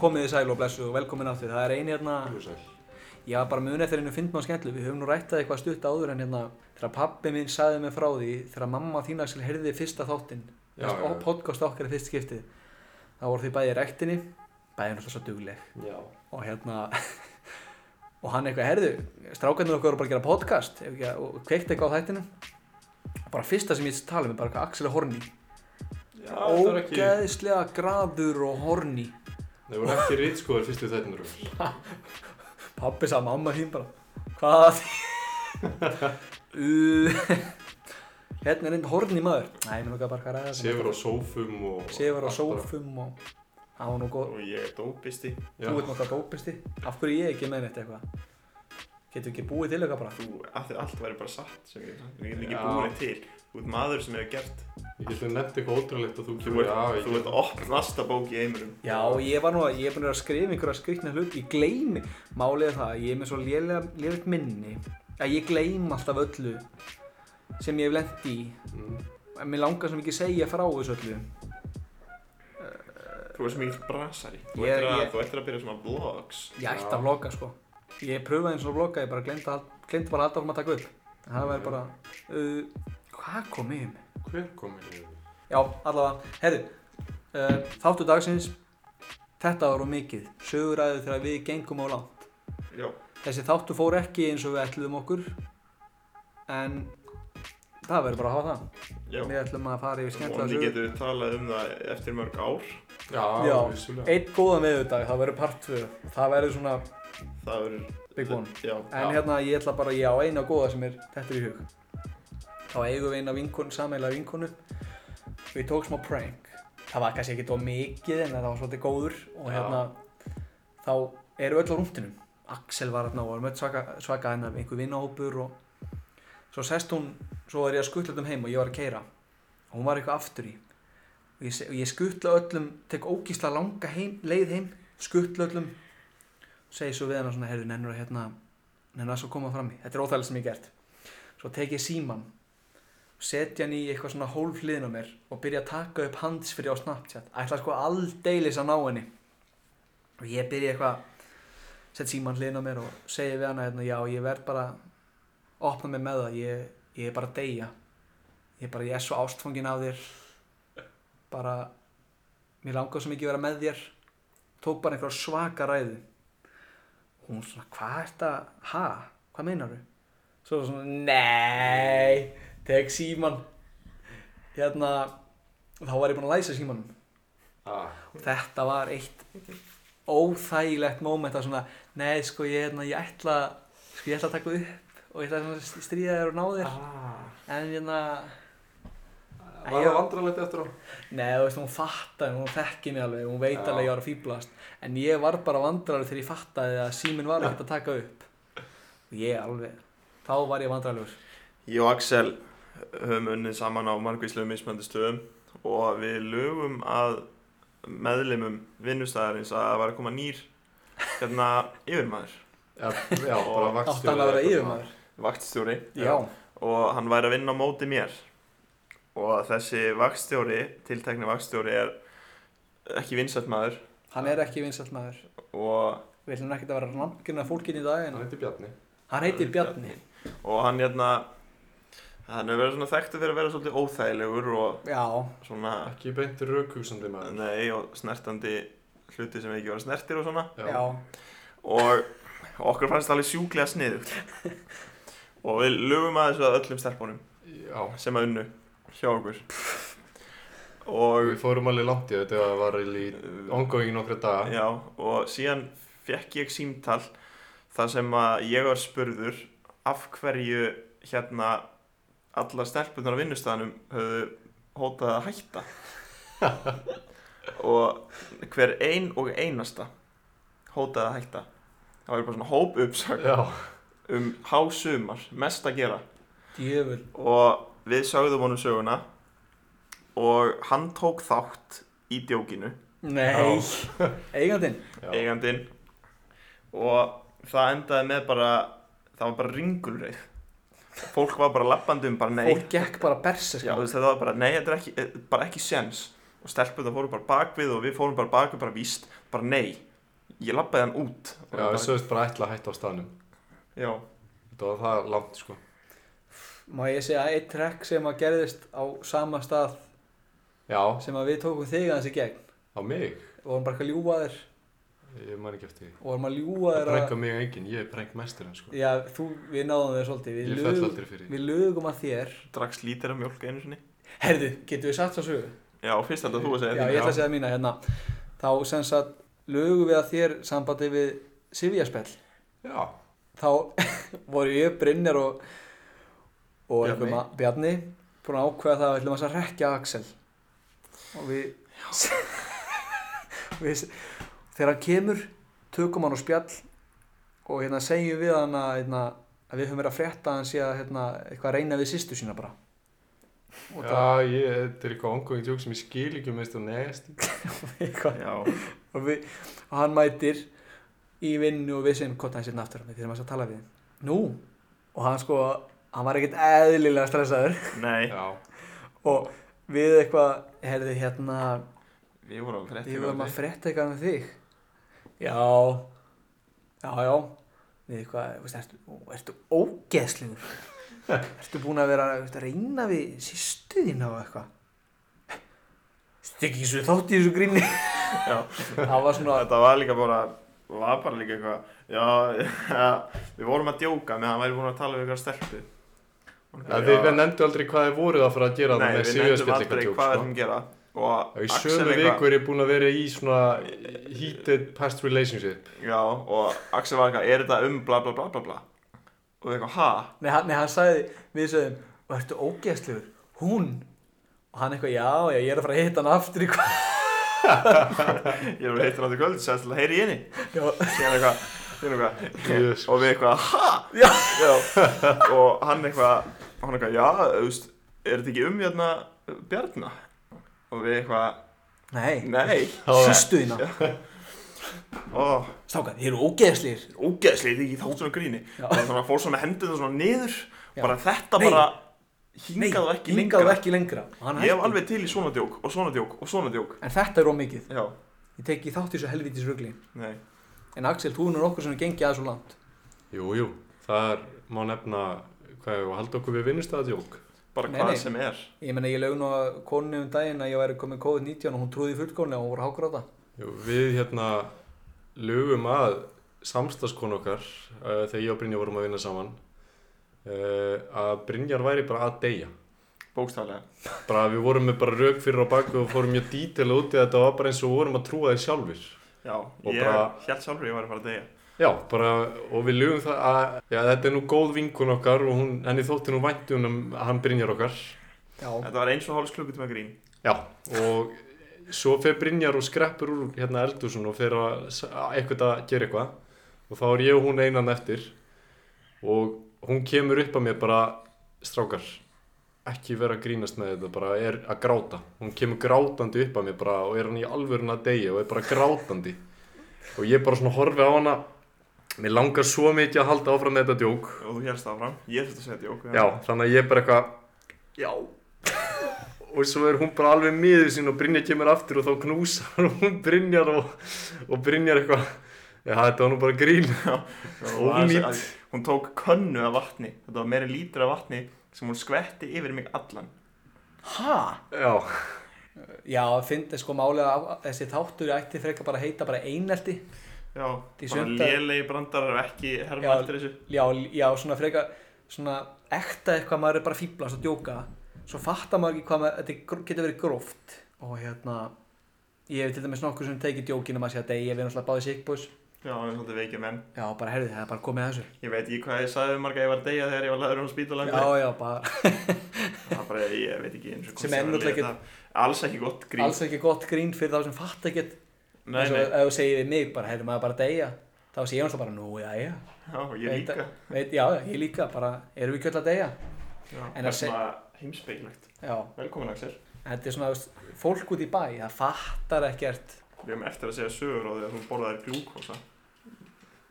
Speaker 3: komið þið sæl og blessu og velkomin aftur Það er eini hérna Já, bara muni eftir einu fyndna og skemmtlu Við höfum nú rættað eitthvað stutt áður en hérna Þegar pabbi minn sagði mig frá því Þegar mamma þín að skil heyrði fyrsta þáttinn
Speaker 2: Já,
Speaker 3: Þess-
Speaker 2: já, já.
Speaker 3: og Podcast okkar í fyrst skiptið þá voru þið bæði í rektinni Bæði náttúrulega svo dugleg
Speaker 2: Já
Speaker 3: og hérna og hann eitthvað herðu strákarnir okkar voru bara að gera podcast ef ekki, að- og kveikt eitthvað á þættinu bara fyrsta sem ég tala um er bara eitthvað Axel er horni
Speaker 4: Já,
Speaker 2: Ah,
Speaker 3: ógeðslega graður og horni
Speaker 2: Það voru ekki rýtskóður fyrstu þættinur
Speaker 3: pappi sagði mamma þín bara hvað U- Hérna er einn horni maður. Nei, mér nokkað bara hvað að ræða þetta.
Speaker 2: Sefur á sófum og...
Speaker 3: Sefur á
Speaker 2: allt bara.
Speaker 3: sófum og... Á nú góð.
Speaker 4: Og ég er dópisti.
Speaker 2: Já.
Speaker 3: Þú ert nokkað dópisti. Af hverju er ég ekki með neitt eitthvað? Getur ekki búið til eitthvað bara?
Speaker 4: Þú, af því allt væri bara satt sem ég, ég get ekki
Speaker 2: Já.
Speaker 4: búin til. Þú ert maður sem hefur gert.
Speaker 2: Ég geti nefnt eitthvað ótrúlegt og þú
Speaker 4: Þú
Speaker 2: kemur...
Speaker 4: ert,
Speaker 2: Já, ég
Speaker 4: þú ert
Speaker 2: get... Mm.
Speaker 4: opnasta bók í heimurum.
Speaker 3: Já, ég var nú að, ég er búin að vera að skrifa einhverja skrikna hlut, ég gleymi, málið er það, að ég er með svo lélega, lélega minni, að ég gleym alltaf öllu sem ég hef lent í,
Speaker 2: Mm.
Speaker 3: en mér langar sem ekki segja frá þessu öllu.
Speaker 4: Þú ert sem mikill brasari. Þú
Speaker 3: Ég-
Speaker 4: ættir að,
Speaker 3: ég-
Speaker 4: þú ættir að byrja svona vlogs.
Speaker 3: Ég ætti að vlogga, sko. Ég pröfaði eins og að vlogga, ég bara glemdi að, glemdi bara að halda áfram að taka upp. En Það væri bara, uh, hvað kom yfir mig?
Speaker 2: Hver kom í liðið?
Speaker 3: Já, allavega, herri, uh, þáttu dagsins, þetta var og mikið, söguræðu þegar við gengum á langt.
Speaker 4: Já.
Speaker 3: Þessi þáttu fór ekki eins og við ætluðum okkur En það verður bara að hafa það
Speaker 4: Já.
Speaker 3: Við ætlum að fara yfir skemmtilega
Speaker 4: Móndi
Speaker 3: sögur
Speaker 4: getur við talað um það eftir mörg ár.
Speaker 2: Já,
Speaker 3: Já.
Speaker 2: vissulega.
Speaker 3: Eitt góðan miðvikudag, það verður part 2 Það verður svona
Speaker 4: Það verður...
Speaker 3: big one
Speaker 4: Já.
Speaker 3: En
Speaker 2: Já.
Speaker 3: hérna ég ætla bara, ég á eina góða sem er Þetta er í hug Þá eigum við eina vinkonu, sameiginlega vinkonu Við tók smá prank Það var kannski ekki tóð mikið en það var svolítið góður Og
Speaker 2: Já.
Speaker 3: hérna Þá eru öll á rúmtinum Axel var hérna og var mött svaka, svaka hérna Einhver vinnahópur og Svo sest hún, svo er ég að skutla um heim Og ég var að keira Og hún var eitthvað aftur í Og ég, se- og ég skutla öllum, tek ógísla langa heim, leið heim Skutla öllum Segi svo við hana svona, heyrðu, nennur að hérna Nennur að svo koma fram í, þetta er óþægilega sem ég hef gert Svo tek ég síman setja hann í eitthvað svona hólf hliðin á mér og byrja að taka upp hands fyrir á Snapchat ætla sko aldeilis að ná henni og ég byrja eitthvað sett síman hliðin á mér og segja við hana hérna, já ég verð bara opna mig með það, ég, ég er bara að deyja ég er bara, ég er svo ástfangin af þér bara mér langar svo mikið að vera með þér tók bara einhver svaka ræðu hún svona, hvað er þetta ha, hvað meinaru svo var svona, nei tek síman hérna þá var ég búinn að læsa símanum
Speaker 2: Ah,
Speaker 3: þetta var eitt óþægilegt móment að svona nei sko ég, hérna, ég ætla sko ég ætla að taka upp og ég ætla svona að stríða þér og ná þér en hérna
Speaker 2: Ah. Var það vandralegt eftir á?
Speaker 3: nei þú veist hún fattaði hún þekki mig alveg hún veit
Speaker 2: Já.
Speaker 3: alveg ég var að fýblast en ég var bara vandrarur þegar ég fattaði að síminn var ekkert að taka upp og ég alveg þá var ég vandrarlegur
Speaker 4: Ég og Axel höfum unnið saman á margvíslega mismöndu stöðum og við lögum að meðlimum vinnustæðarins að það var að koma nýr hérna yfirmaður,
Speaker 2: Já, já, bara
Speaker 4: Og
Speaker 2: vakstjóri.
Speaker 3: átt hann að vera yfirmaður
Speaker 4: vaktstjóri
Speaker 3: já
Speaker 4: og hann væri að vinna á móti mér og þessi vaktstjóri, tiltekni vaktstjóri er ekki vinsætt maður
Speaker 3: hann er ekki vinsall maður
Speaker 4: og,
Speaker 3: Við ætlum ekkert að vera nafngrinna fólkin í dag en
Speaker 2: Hann heitir Bjarni.
Speaker 3: hann heitir Bjarni.
Speaker 4: og hann hérna hann hefur verið svona þekktu fyrir að vera svolítið óþægilegur og
Speaker 3: Já,
Speaker 4: svona
Speaker 2: Ekki beinti raukugsandi maður.
Speaker 4: nei og snertandi hluti sem ekki voru snertir og svona
Speaker 3: já,
Speaker 4: og okkur fannst það alveg sjúklega sniðugt og við lögum að þessu að öllum stelpunum
Speaker 2: Já.
Speaker 4: sem að unnu hjá okkur
Speaker 2: Og
Speaker 4: og
Speaker 2: við fórum alveg langt í þetta, það var í ongoing nokkra daga.
Speaker 4: já, og síðan fekk ég símtal þar sem að ég var spurður af hverju hérna allar stelpunar á vinnustæðanum höfðu hótað að hætta og hver ein og einasta hótaði að hætta það var bara svona hópuppsögn
Speaker 2: Já.
Speaker 4: um hásumar, mest að gera
Speaker 3: djöfur.
Speaker 4: og við sögðum honum söguna og hann tók þátt í djókinu,
Speaker 3: Nei, eigandinn.
Speaker 2: Já.
Speaker 4: eigandinn og það endaði með bara það var bara ringulreið fólk var bara lappandi um bara nei
Speaker 3: Fólk gekk bara berserk.
Speaker 4: Já, þú veist, þetta var bara, nei, þetta er ekki, eh, bara ekki sens og stelpur það fóru bara bakvið og við fórum bara bakvið bara víst, bara nei ég lappaði hann út
Speaker 2: Já,
Speaker 4: Og bara-
Speaker 2: við sögumst bara ætla að hætta á staðnum.
Speaker 4: já,
Speaker 2: Þetta var það langt, sko.
Speaker 3: Má ég segja að eitt trekk sem að gerðist á sama stað
Speaker 2: Já,
Speaker 3: sem að við tókum þig aðeins í gegn.
Speaker 2: á mig.
Speaker 3: Við vorum bara eitthvað að ljúga þér
Speaker 2: Ég man ekki eftir því.
Speaker 3: og vorum að ljúga
Speaker 2: Það
Speaker 3: þér að...
Speaker 2: prenga mig enginn, ég er preng mesturinn, sko.
Speaker 3: Já, þú, við náðum þér svolítið. Við
Speaker 2: Ég
Speaker 3: lug-
Speaker 2: fell aldrei fyrir því.
Speaker 3: Við lögum að þér.
Speaker 4: drakk slítir af mjólk einu sinni
Speaker 3: Herðu, getur við satt svo sögu?
Speaker 4: já, fyrst held að þú að segja
Speaker 3: Já, ég ætla að segja mína hérna. Þá sem sagt, lögum við að þér sambandi við Sivjaspell.
Speaker 2: Já.
Speaker 3: þá voru ég Brynjar og, og
Speaker 4: Bjarni.
Speaker 3: einhver ma- Bjarni búin að ákveða það að við ætlum að rekja Axel og við, við þegar hann kemur tökum hann á spjall og hérna segjum við hann að, hérna, að við höfum verið að frétta að hann sé að hérna, eitthvað að reyna við sýstu sína bara og það
Speaker 2: Já, ég, þetta er eitthvað ongoing joke sem ég skil ekki um veist og neðst.
Speaker 3: eitthvað
Speaker 4: Já,
Speaker 3: og, við, og hann mætir í vinnu og við segjum hvort hann sérna aftur við þurfum aðeins að tala við hann nú og hann sko hann var ekkert eðlilega stressaður
Speaker 4: nei,
Speaker 2: Já,
Speaker 3: og við eitthvað heyrðu hérna
Speaker 4: við vorum hérna að frétta
Speaker 3: við vorum að
Speaker 4: eitthvað.
Speaker 3: frétta eitthvað með þig já já já við eitthvað veist, ertu, ertu ógeðslegur ertu búin að vera veist, að reyna við sýstu þína og eitthvað stekki svo þátt í þessu gríni
Speaker 4: Já.
Speaker 3: það var svona
Speaker 4: Þetta var líka bara, var bara líka eitthvað Já, við vorum að djóka með að hann væri búin að tala við eitthvað stelpu
Speaker 2: Já, þið nefndu aldrei hvað þið voruð að fara að gera það
Speaker 4: Nei,
Speaker 2: með
Speaker 4: við nefndum
Speaker 2: síðaspjall
Speaker 4: aldrei
Speaker 2: eitthvað
Speaker 4: hvað
Speaker 2: tjók,
Speaker 4: þeim gera og
Speaker 2: sko. Í
Speaker 4: Axel
Speaker 2: sömu
Speaker 4: eitthvað-
Speaker 2: viku er ég búin að vera í svona heated past relationship.
Speaker 4: Já, og Axel var eitthvað, er þetta um bla bla bla bla bla Og við eitthvað, ha?
Speaker 3: Nei, hann, nei, hann sagði, við sögum, og ertu ógeðslegur, hún, og hann eitthvað, já, já, ég er að fara að hitta hann aftur í hvað,
Speaker 4: Ég er að heita hann til kvöld, sagði til að heyri í henni
Speaker 3: já,
Speaker 4: Síðan eitthvað, síðan eitthvað
Speaker 2: Jesus.
Speaker 4: Og við eitthvað, ha?
Speaker 3: Já.
Speaker 4: Og hann eitthvað, hann eitthvað, já, þú veist, er þetta ekki um hérna Bjarna? Og við eitthvað,
Speaker 3: nei,
Speaker 4: nei
Speaker 3: sýstu þína,
Speaker 4: Ó,
Speaker 3: stákað, þið eru ógeðslegir,
Speaker 4: ógeðslega, þetta er ekki þá svona gríni
Speaker 3: Já.
Speaker 4: og þannig að fór svona hendur það svona niður
Speaker 3: Já.
Speaker 4: bara þetta
Speaker 3: Nei.
Speaker 4: bara
Speaker 3: nei,
Speaker 4: hingað og ekki
Speaker 3: hingað
Speaker 4: lengra
Speaker 3: og ekki lengra, og hann
Speaker 4: ég hef alveg til í svona djók og svona djók og svona djók
Speaker 3: en þetta er ómikið,
Speaker 4: já,
Speaker 3: ég teki þátt í þessu helvítis rugli,
Speaker 4: nei,
Speaker 3: en Axel, þú er okkur sem er gengið aðeins og langt,
Speaker 2: Jú, jú, það er, má nefna, hvað er, halda okkur við vinnustæðadjók.
Speaker 4: bara
Speaker 3: Nei,
Speaker 4: hvað
Speaker 3: nei.
Speaker 4: sem er
Speaker 3: ég menna, ég lögna konu um daginn að ég væri komið COVID-19 og hún trúði fullkónlega og hún voru hágráta,
Speaker 2: Jú, við hérna lögum að samstagskon okkar uh, þegar ég og Brynjar vorum að vinna saman uh, að Brynjar væri bara að deyja
Speaker 4: bókstaflega
Speaker 2: bara við vorum með bara rauk fyrir á baku og fórum mjög dítil út í þetta og var bara eins og vorum að trúa þeir sjálfur
Speaker 4: já,
Speaker 2: Og
Speaker 4: ég
Speaker 2: bara-
Speaker 4: held sjálfur ég var að fara að deyja
Speaker 2: Já, bara, og við lögum það að já, þetta er nú góð vinkun okkar og hún, henni þótti nú vænti hún um hann Brynjar okkar
Speaker 3: já,
Speaker 4: þetta var eins og hálfs klukkutíma grín
Speaker 2: Já, og svo fer Brynjar og skreppur úr hérna eldursun og fer að s- að eitthvað að gera eitthvað og þá er ég og hún einan eftir og hún kemur upp að mér bara strákar, ekki vera að grínast með þetta, bara er að gráta hún kemur grátandi upp að mér bara og er hann í alvörun að deyja og er bara grátandi og ég bara svona horfi á hana mér langar svo mikið að halda áfram með þetta djók
Speaker 4: og þú hélst áfram, ég þurfti að segja djók
Speaker 2: Já, þannig að ég bara eitthvað Já Og svo er hún bara alveg miður sín og Brynjar kemur aftur og þá knúsar hún Brynjar og, og Brynjar eitthvað Já, þetta var nú bara grín
Speaker 4: Og var
Speaker 2: Ónýt.
Speaker 4: aðeins- að- hún tók könnu af vatni þetta var meira lítur af vatni sem hún skvetti yfir mig allan
Speaker 3: hæ,
Speaker 2: Já,
Speaker 3: já, fyndi sko málega að þessi þáttur ætti frekar bara að heita bara einelti,
Speaker 4: já,
Speaker 3: Því
Speaker 4: bara
Speaker 3: sjötta-
Speaker 4: lélegi brandarar og ekki herma
Speaker 3: Já.
Speaker 4: eftir þessu
Speaker 3: já, já, svona frekar svona ekta eitthvað maður er bara fíblast að djóka svo fattar maður ekki hvað maður, þetta er gr- getur verið gróft og hérna ég hef til dæmis nokkuð sem tekið djókinu maður sé að deyja við erum alltaf báði sikkbús
Speaker 4: já, við erum svolítið veikir menn
Speaker 3: já, bara herðið, það er bara komið að þessu
Speaker 4: Ég veit ekki hvað ég sagði um marga að ég var að deyja þegar ég var laður um spítalandi.
Speaker 3: já, já, bara,
Speaker 4: Það er bara, ég veit ekki eins og
Speaker 3: Sem er
Speaker 4: hvort var að
Speaker 3: náttúrulega
Speaker 4: leta. Alls ekki gott grín.
Speaker 3: alls ekki gott grín fyrir þá sem fatt ekki
Speaker 4: Nei,
Speaker 3: eins og
Speaker 4: nei,
Speaker 3: ef þú segir við mig, bara herðið maður bara að deyja þá sé ég alltaf bara, nú, já, já
Speaker 4: já, ég
Speaker 3: Veit-
Speaker 4: líka.
Speaker 3: veit, já, ég líka, bara, erum við kjöld að deyja
Speaker 4: Já,
Speaker 3: En
Speaker 4: það
Speaker 3: að
Speaker 4: er svona heimspeiklegt.
Speaker 3: já,
Speaker 4: Velkomin Axel.
Speaker 3: þetta er svona þú veist, fólk út í bæ, það fattar ekkert
Speaker 4: Við hefum eftir að segja sögur á því að þú borðaðir glúkosa.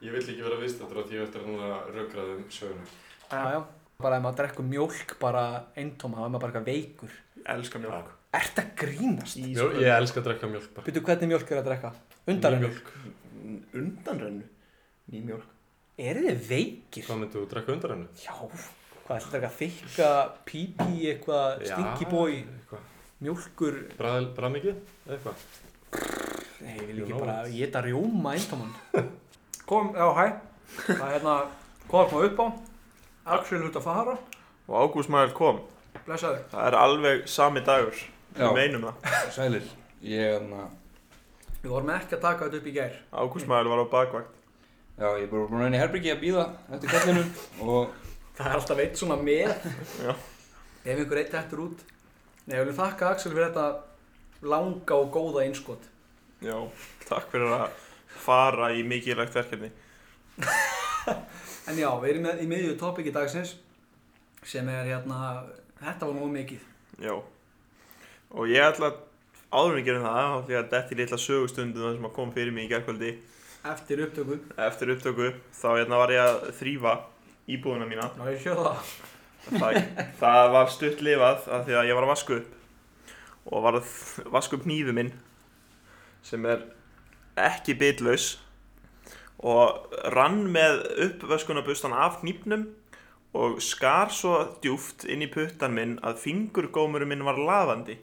Speaker 2: ég vill ekki vera viðstættur af því ég eftir núna rökraðum söguna
Speaker 3: Já, já. Bara ef maður drekkur mjólk bara eintóma, þá er maður bara eitthvað veikur.
Speaker 4: Ég elska mjölk.
Speaker 3: Ert að grínast?
Speaker 4: Ís.
Speaker 2: Ég elska að drekka mjölk bara
Speaker 3: Býtu, hvernig mjólk er að drekka? Undarlega.
Speaker 2: Nýmjólk.
Speaker 4: Undanrennu. Ný mjölk.
Speaker 3: Eru þið veikir?
Speaker 2: Hvað myndu þú drekka undan hennu?
Speaker 3: Já. Hvað, ætlaðu að drekka þykka, pípi, eitthvað, stinky boy, mjólkur?
Speaker 2: Bræð mikið? Eða Eitthvað?
Speaker 3: Nei, ég vil
Speaker 2: You
Speaker 3: ekki
Speaker 2: know
Speaker 3: bara
Speaker 2: it.
Speaker 3: geta rjóma eintóman. Kom, já, hæ. Það er hérna, hvað kom upp á? Axel út að fara.
Speaker 4: Og Ágúst Mæl kom.
Speaker 3: Blessaður.
Speaker 4: Það er alveg sami dagur.
Speaker 6: Já.
Speaker 4: Við meinum það.
Speaker 6: Sælir, ég, hérna,
Speaker 3: Við vorum ekki að taka þetta upp í gær.
Speaker 4: Ágúst Mæl var á bakvakt.
Speaker 6: já, ég er bara búin að reyna í herbyggi að býða eftir kallinum og
Speaker 3: Það er alltaf eitt svona með.
Speaker 4: Já.
Speaker 3: Ef einhver eitt hættur út. Nei, ég vil þakka Axel fyrir þetta langa og góða einskot.
Speaker 4: Já, takk fyrir að fara í mikilvægt verkefni.
Speaker 3: En já, við erum með- í miðju topiki dagsins sem er hérna, þetta var nú of mikið.
Speaker 4: Já. Og ég ætla að áður en við gerum það, þá ætla ég að detti litla sögustundu það sem að kom fyrir mig í gerkvöldi
Speaker 3: Eftir upptöku.
Speaker 4: eftir upptöku, þá hérna var ég að þrýfa íbúðuna mína.
Speaker 3: Ná, ég hjóða það.
Speaker 4: Það, það var stutt lifað af því að ég var að vaska upp og var að vaska upp nýfu minn sem er ekki bitlaus og rann með uppvöskunarbustan af nýpnum og skar svo djúft inn í puttan minn að fingurgómurinn minn var lafandi.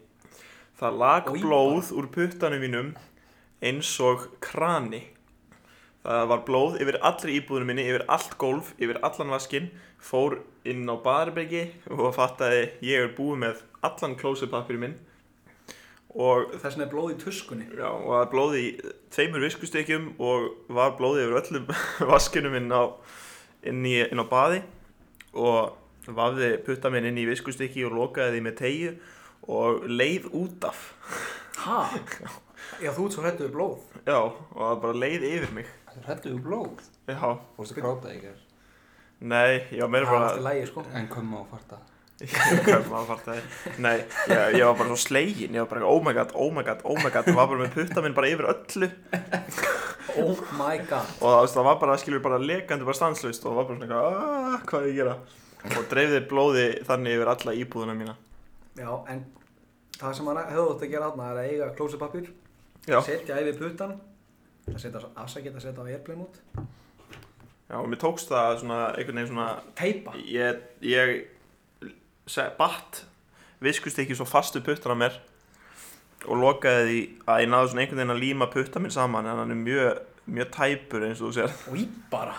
Speaker 4: Það lag
Speaker 3: Oj,
Speaker 4: blóð úr puttanum mínum eins og krani. Það var blóð yfir allri íbúðunum minni, yfir allt gólf, yfir allan vaskinn, fór inn á baðarbeggi og fattaði ég er búið með allan klósupapirinn minn og,
Speaker 3: Þess vegna er blóð í tuskunni.
Speaker 4: já, og það blóði í tveimur viskustekjum og var blóði yfir öllum vaskinum inn á, inn, í, inn á baði og vafði putta minn inn í viskustykki og lokaði því með tegju og leið út af
Speaker 3: Ha? Já, þú ert svo hrættu við blóð.
Speaker 4: já, og það bara leið yfir mig
Speaker 6: Rættu úr blóð.
Speaker 4: já,
Speaker 6: Fórstu að gráta í gerð.
Speaker 4: nei, já,
Speaker 3: Það
Speaker 4: mér
Speaker 3: er
Speaker 4: bara
Speaker 3: alltaf lægi, sko.
Speaker 6: En koma og farta.
Speaker 4: Körmafartaði Nei, ég, ég var bara svo slegin Ég var bara, oh my god, oh my god, oh my god Ég var bara með putta minn bara yfir öllu
Speaker 3: Oh my god.
Speaker 4: Og það, veist, það var bara, skilur, bara lekandi, bara stanslaust Og það var bara svona, eitthvað, "Ah, hvað er ég að gera Og dreifði blóði þannig yfir alla íbúðuna mína
Speaker 3: Já, en það sem hann hefði átt að gera þarna er að eiga klósupapir,
Speaker 4: Já,
Speaker 3: setja yfir putan, það setja afsakið að setja á airplane út,
Speaker 4: já og mér tókst það svona, einhvern veginn svona
Speaker 3: teipa.
Speaker 4: Ég, ég se, batt viskust ekki svo fastu puttana mér og lokaði því að ég náði svona einhvern veginn að líma putta minn saman en hann er mjög, mjög tæpur eins og þú sér
Speaker 3: Og í bara.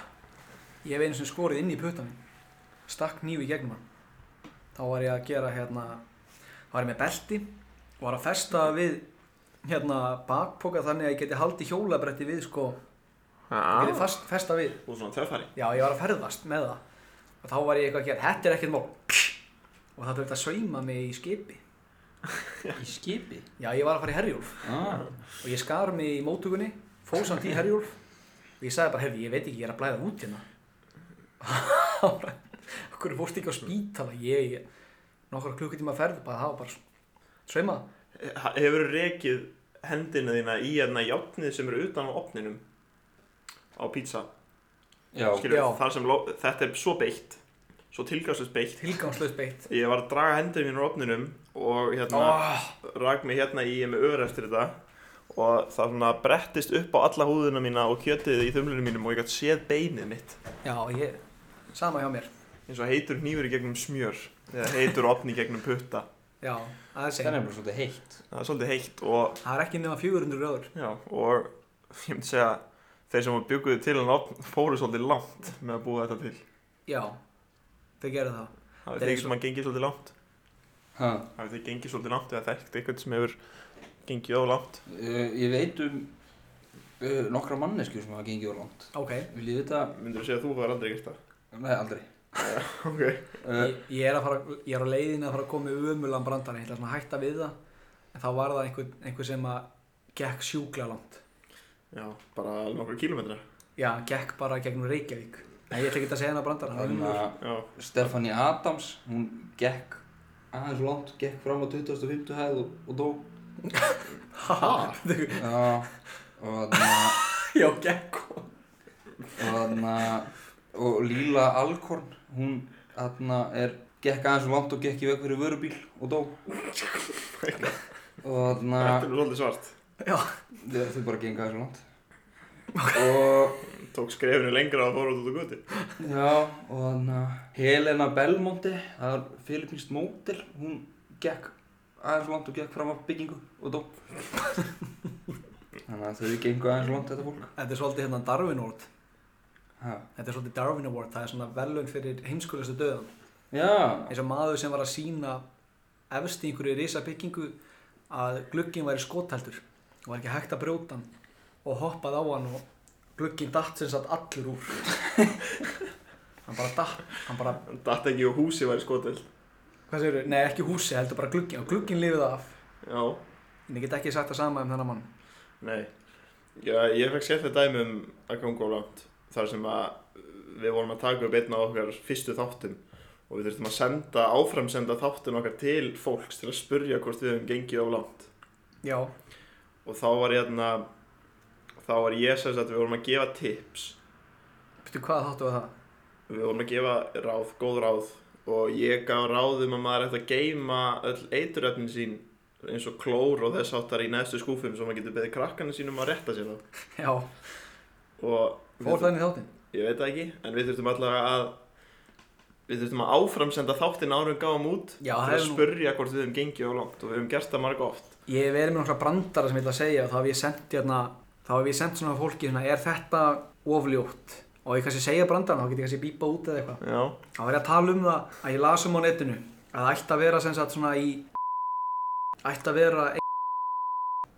Speaker 3: Ég hef einu sem skorið inn í putan minn. Stakk nýju í gegnum hann. Þá var ég að gera hérna, þá var ég með belti, var að festa við hérna bakpoka þannig að ég geti haldið hjólabretti við sko, ah. geti fast, festa við.
Speaker 4: Og svona töffari
Speaker 3: Já, ég var að ferðast með það. Og þá var ég eitthvað að gera, þetta er ekkert mál. Og það þurfti að sveima mig í skipi.
Speaker 6: Í skipi?
Speaker 3: Já, ég var að fara í Herjólf
Speaker 6: Ah.
Speaker 3: og ég skar mig í mótugunni, fóð samt í Herjólf og ég sagði bara, herri, ég veit ekki, ég er að blæða út hérna. Okkur fórst ekki á spítala, ég, ég nokkra klukkutíma ferð, bara það var bara svona, sveima.
Speaker 4: Hefur rekið hendina þína í hérna játnið sem eru utan á opninum á pizza
Speaker 6: Já.
Speaker 4: Skilur,
Speaker 3: Já.
Speaker 4: þar sem lo- þetta er svo beitt svo tilgangslust beitt
Speaker 3: Tilgangslaust beitt.
Speaker 4: Ég var að draga hendur mínu á opninum og hérna rak mig hérna í með öður eftir þetta og það svona brettist upp á alla húðuna mína og kjötið í þumlunum mínum og ég gætt séð beinið mitt
Speaker 3: Já, ég, sama hjá mér.
Speaker 4: eins og heitur hnífur í gegnum smjör eða heitur opni í gegnum putta
Speaker 3: Já, það er
Speaker 6: Það er
Speaker 3: segn.
Speaker 6: bara svolítið heitt.
Speaker 4: það er svolítið heitt og
Speaker 3: Það er ekki nema 400 gráður.
Speaker 4: Já, og ég myndi segja þeir sem bygguðu til hann opn fóru svolítið langt með að búa þetta til
Speaker 3: Já, þau gerðu það.
Speaker 4: það er
Speaker 3: Þeir
Speaker 4: þeir
Speaker 3: svo-
Speaker 4: sem að gengið svolítið langt
Speaker 6: Ha.
Speaker 4: það er þeir gengið svolítið langt eða þekkt eitthvað sem hefur gengið á langt
Speaker 6: Uh, ég veit um uh, nokkra mannesku sem hafa gengið á langt.
Speaker 3: Ok,
Speaker 6: Vil ég vita?
Speaker 4: myndir þú segja að þú var aldrei gert það?
Speaker 6: Nei, aldrei.
Speaker 4: ok,
Speaker 6: Uh,
Speaker 3: ég, ég, er að fara, ég er á leiðinu að fara að koma með umulan brandara, ég ætla svona að hætta við það en þá var það einhver, einhver sem að gekk sjúkla langt
Speaker 4: já, bara alveg nokkru kílómetra
Speaker 3: já, gekk bara gegnum Reykjavík en ég ætla ekki að segja hennar brandara hann er
Speaker 6: þannig
Speaker 3: ömurlegur.
Speaker 6: að
Speaker 4: já,
Speaker 6: Stefani Adams, hún gekk aðeins langt, gekk fram á 25. hæð og, og dó.
Speaker 3: Ha?
Speaker 6: Já, og þannig
Speaker 3: já, gekk og-
Speaker 6: að, og Líla Alkorn, hún þannig er, gekk aðeins langt og gekk í veg fyrir vörubíl og dó. Og þannig
Speaker 4: þetta er svolítið svart
Speaker 3: já,
Speaker 6: að þau bara gengu aðeins langt. Og
Speaker 4: tók skrefinu lengra og fóru út út á guti
Speaker 6: Já, og þannig að Helena Belmonte, það er filipinst mótil, hún gekk aðeins langt og gekk fram af byggingu og dó. þannig að þau gengu aðeins langt þetta fólk.
Speaker 3: þetta er svolítið hérna Darwin Award
Speaker 6: Ha.
Speaker 3: þetta er svolítið Darwin Award, það er svona velun fyrir heimskulegastu döðan
Speaker 6: Já,
Speaker 3: eins og maður sem var að sína efst í einhverju risabyggingu að glugginn væri skotheldur og var ekki hægt að brjóta hann og hoppað á hann og glugginn datt sem satt allur úr hann bara datt hann bara,
Speaker 4: hann datt ekki og húsi væri skotil
Speaker 3: Hvað segirðu? Nei, ekki húsi, heldur bara glugginn. Og glugginn lifið af.
Speaker 4: Já,
Speaker 3: En ég get ekki sagt það sama um þennan mann.
Speaker 4: nei. Já, ég fekk sér þetta dæmi um að ganga á langt. Þar sem að við vorum að taka upp einn af okkar fyrstu þáttum og við þurftum að senda, áframsenda þáttin okkar til fólks til að spurja hvort við höfum gengið á langt.
Speaker 3: Já.
Speaker 4: Og þá var ég hérna, þá var ég sem sagt, við vorum að gefa tips.
Speaker 3: Veitu hvað þáttu að það?
Speaker 4: Við vorum að gefa ráð, góð ráð og ég gaf ráðum að maður ætti að geyma öll eituröfnin sín eins og klór og þess áttar í neðstu skúfum svo maður getur beðið krakkarnir sínum að rétta sér það.
Speaker 3: Já.
Speaker 4: Og við-
Speaker 3: Fór það inn í þáttinn?
Speaker 4: Ég veit það ekki, en við þurftum allavega að við þurftum að áframsenda þáttinn árum gáum út
Speaker 3: Já, það
Speaker 4: til að
Speaker 3: er nú-
Speaker 4: spurja hvort við höfum gengið á langt og við höfum gert það marga oft
Speaker 3: Ég hef verið með nokkla brandara sem ég ætla að segja og þá hef ég sendt hérna, þá hef ég sendt svona fólki svona, er þetta ofljótt? Og ég kannski segja brandara, þá get ég kannski bípa út eða eitthvað.
Speaker 4: Já,
Speaker 3: Þá var ég að tala um það að ég las um á netinu að það ætti að vera sem sagt svona í ætti að vera ein-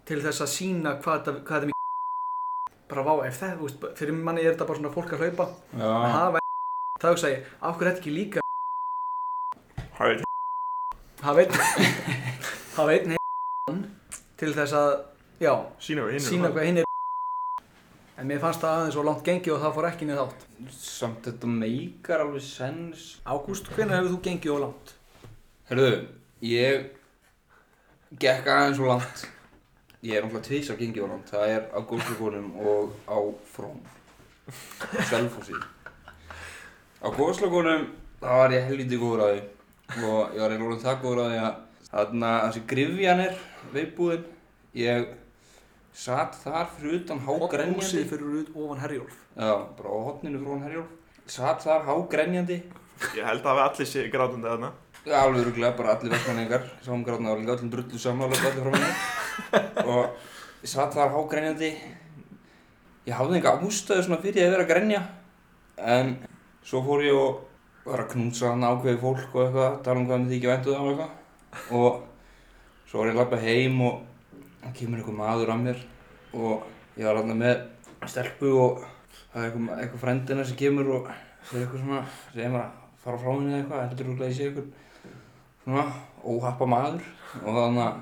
Speaker 3: til þess að sína hvað þetta, hvað þetta er mikið bara vá, ef það, þú veist, fyrir manni er þetta bara svona fólk að hlaupa að
Speaker 6: Já,
Speaker 3: hafa þá hugsa ég, af hverju er þetta ekki líka
Speaker 4: Hard.
Speaker 3: hafa einn hafa einn ein- til þess að, já,
Speaker 4: sína við
Speaker 3: sína hvað hinn er en mér fannst það aðeins svo langt gengið og það fór ekki niður þátt
Speaker 6: samt þetta meikar alveg sens.
Speaker 3: Ágúst, hvenær hefur þú gengið og langt?
Speaker 6: Herðu, ég gekk aðeins og langt. Ég er náttúrulega tvís að gengi á langt. Það er á góðslagunum og á frón. Selfossi. Á góðslagunum, það var ég helviti góður að því. Og ég var eiginlega orðinn það góður að því að þarna þessi grifjanir, veipbúðin, ég satt þar fyrir utan hágrenjandi.
Speaker 3: Húsið fyrir út ofan Herjólf
Speaker 6: Já, bara á hotninu frá hann Herjólf. Satt þar hágrenjandi
Speaker 4: Ég held að hafa allir sér grátandi þarna
Speaker 6: Já, alveg öruglega, bara allir verkmanningar, samgráðna og líka allir drullu samanlega allir frá mér og ég satt þar hágrænjandi ég hafði enga ástæðu svona fyrir að vera að grænja en svo fór ég og var að knúsa hann ákveði fólk og eitthvað, tala um hvað mér þykja væntu það og eitthvað og svo var ég að lappa heim og það kemur einhver maður að mér og ég var alltaf með stelpu og það er einhver, einhver frendina sem kemur og segir eitthvað svona, segir maður að fara frá henni eða eitthvað, heldur úrlega ég sé eitthvað svona óhappa maður og þannig að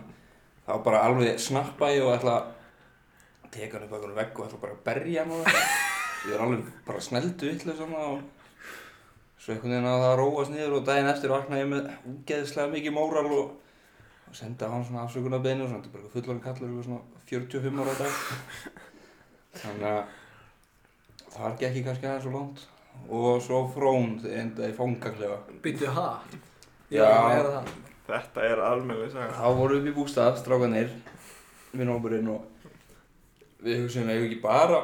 Speaker 6: þá bara alveg snappa ég og ætla að teka hann upp eitthvað vegg og ætla bara að berja hann og það ég er alveg bara sneldu ytlu svona og svo einhvern veginn að það róast niður og daginn eftir vakna ég með úgeðislega mikið móral og, og senda hann svona afsökunarbeinu og svona þetta er bara eitthvað fullan kallur eitthvað svona 45 ára á dag þannig að það var ekki kannski aðeins svo langt og svo frón enda í fangaklefa
Speaker 3: Býttu ha?
Speaker 6: Já.
Speaker 3: Já, það það.
Speaker 4: Þetta er almennileg saga
Speaker 6: Þá vorum við upp í bústað, strákanir, minn hópurinn og við hugsaðum að ég ekki bara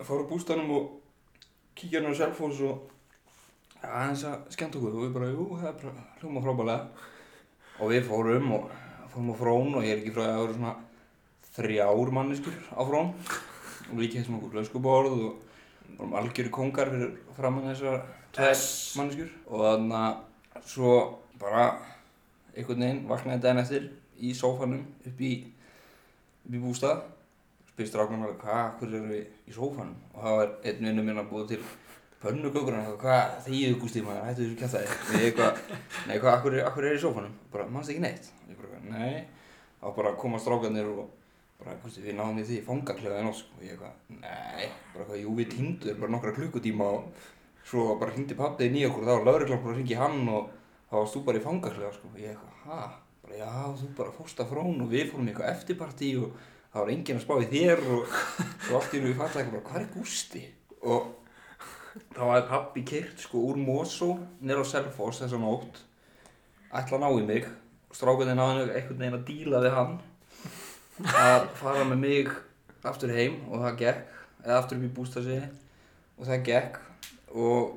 Speaker 6: að fara úr bústaðnum og kíkja hann á Selfoss og aðeins að skemmt okkur og við bara, jú, það er bara hljóma frábælega og við fórum og fórum á frón og ég er ekki frá því að það voru svona þrjár manneskur á frón og líka þessum okkur löskuborð og vorum algjöru kongar fyrir framann þessar tvær manneskur og þannig að svo bara einhvern veginn vaknaði daginn eftir í sófanum upp í, upp í bústað spyrst ráknum alveg hvað, hver erum við í sófanum og það var einn vinnu minn að búa til pönnukökur hann eitthvað, hvað, þegiðu gústi maður, hættu þessu kjæftæði og ég eitthvað, nei hvað, akkur er, akkur er í sófanum bara, mannst ekki neitt og ég bara, nei, þá bara koma strákanir og bara, gústi, við náðum í því fangaklefa en ósk og ég eitthvað, nei, bara hvað, jú, við týndu þér bara nokkra klukkutíma og svo bara hindi pappið í okkur, þá var lauruglan bara að hringi hann og þá varst þú bara í fangaklefa sko. ég eitthvað, ha, bara já, þú bara fórst að frón og við fórum í eitthvað eftirparti og það var enginn að spá í þér og svo allt í nú við fattaði eitthvað bara, hvað er gústi og þá hafði pappi kert sko úr Mosó nýra á Selfoss þessa nótt ætla að ná í mig og strákunni náði einhvern veginn að díla við hann að fara með mig aftur heim og það gekk eða aftur upp í bústasi og það gekk og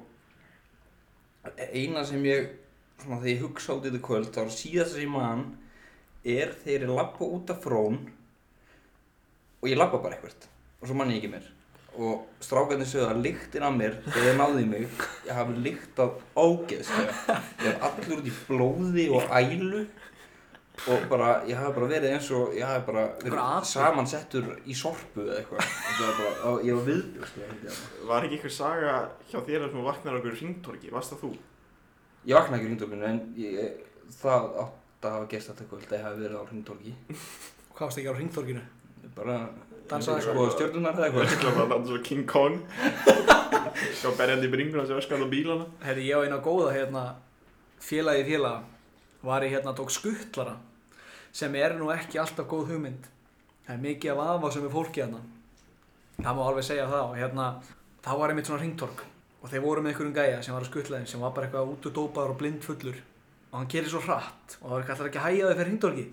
Speaker 6: eina sem ég svona þegar ég hugsa út í þetta kvöld þá er síðast sem ég man er þegar ég lappa út af frón og ég lappa bara eitthvað og svo man ég ekki mér og strákarnir sögðu að lyktin af mér þegar ég náði í mig ég hafi lyktað ógeðslega ég hef allur út í blóði og ælu og bara, ég hafi bara verið eins og ég hafi bara
Speaker 3: Bara
Speaker 6: verið
Speaker 3: api.
Speaker 6: samansettur í sorpu eða eitthvað Þetta var bara, á- ég var viðbjörnslega
Speaker 4: Var ekki einhver saga hjá þér að þú vaknar á einhverju hringtorki, varst það þú?
Speaker 6: Ég vaknaði ekki í ringdóminu en ég, það átt að hafa gest þetta kvöld að ég hafi verið á hringtorki.
Speaker 3: Hvað varst ekki á ringtorkinu?
Speaker 6: Bara,
Speaker 3: Dansaði
Speaker 6: sko, stjórnunar eða
Speaker 4: Ég
Speaker 6: eitthvað.
Speaker 4: ætla bara að dansa svo King Kong Sjá berjandi í bringuna sem öskandi á bílana
Speaker 3: Herri, ég á eina góða hérna félagi félaga var ég hérna tók skuttlara sem er nú ekki alltaf góð hugmynd það er mikið af afa sem er fólki hérna það má alveg segja það og hérna þá var ég mitt svona ringtork og þeir voru með einhverjum gæja sem var að skuttla þeim sem var bara eitthvað útudópaður og blindfullur og hann gerir svo hratt og það var kallar ekki að hæja þau fyrir ringtorki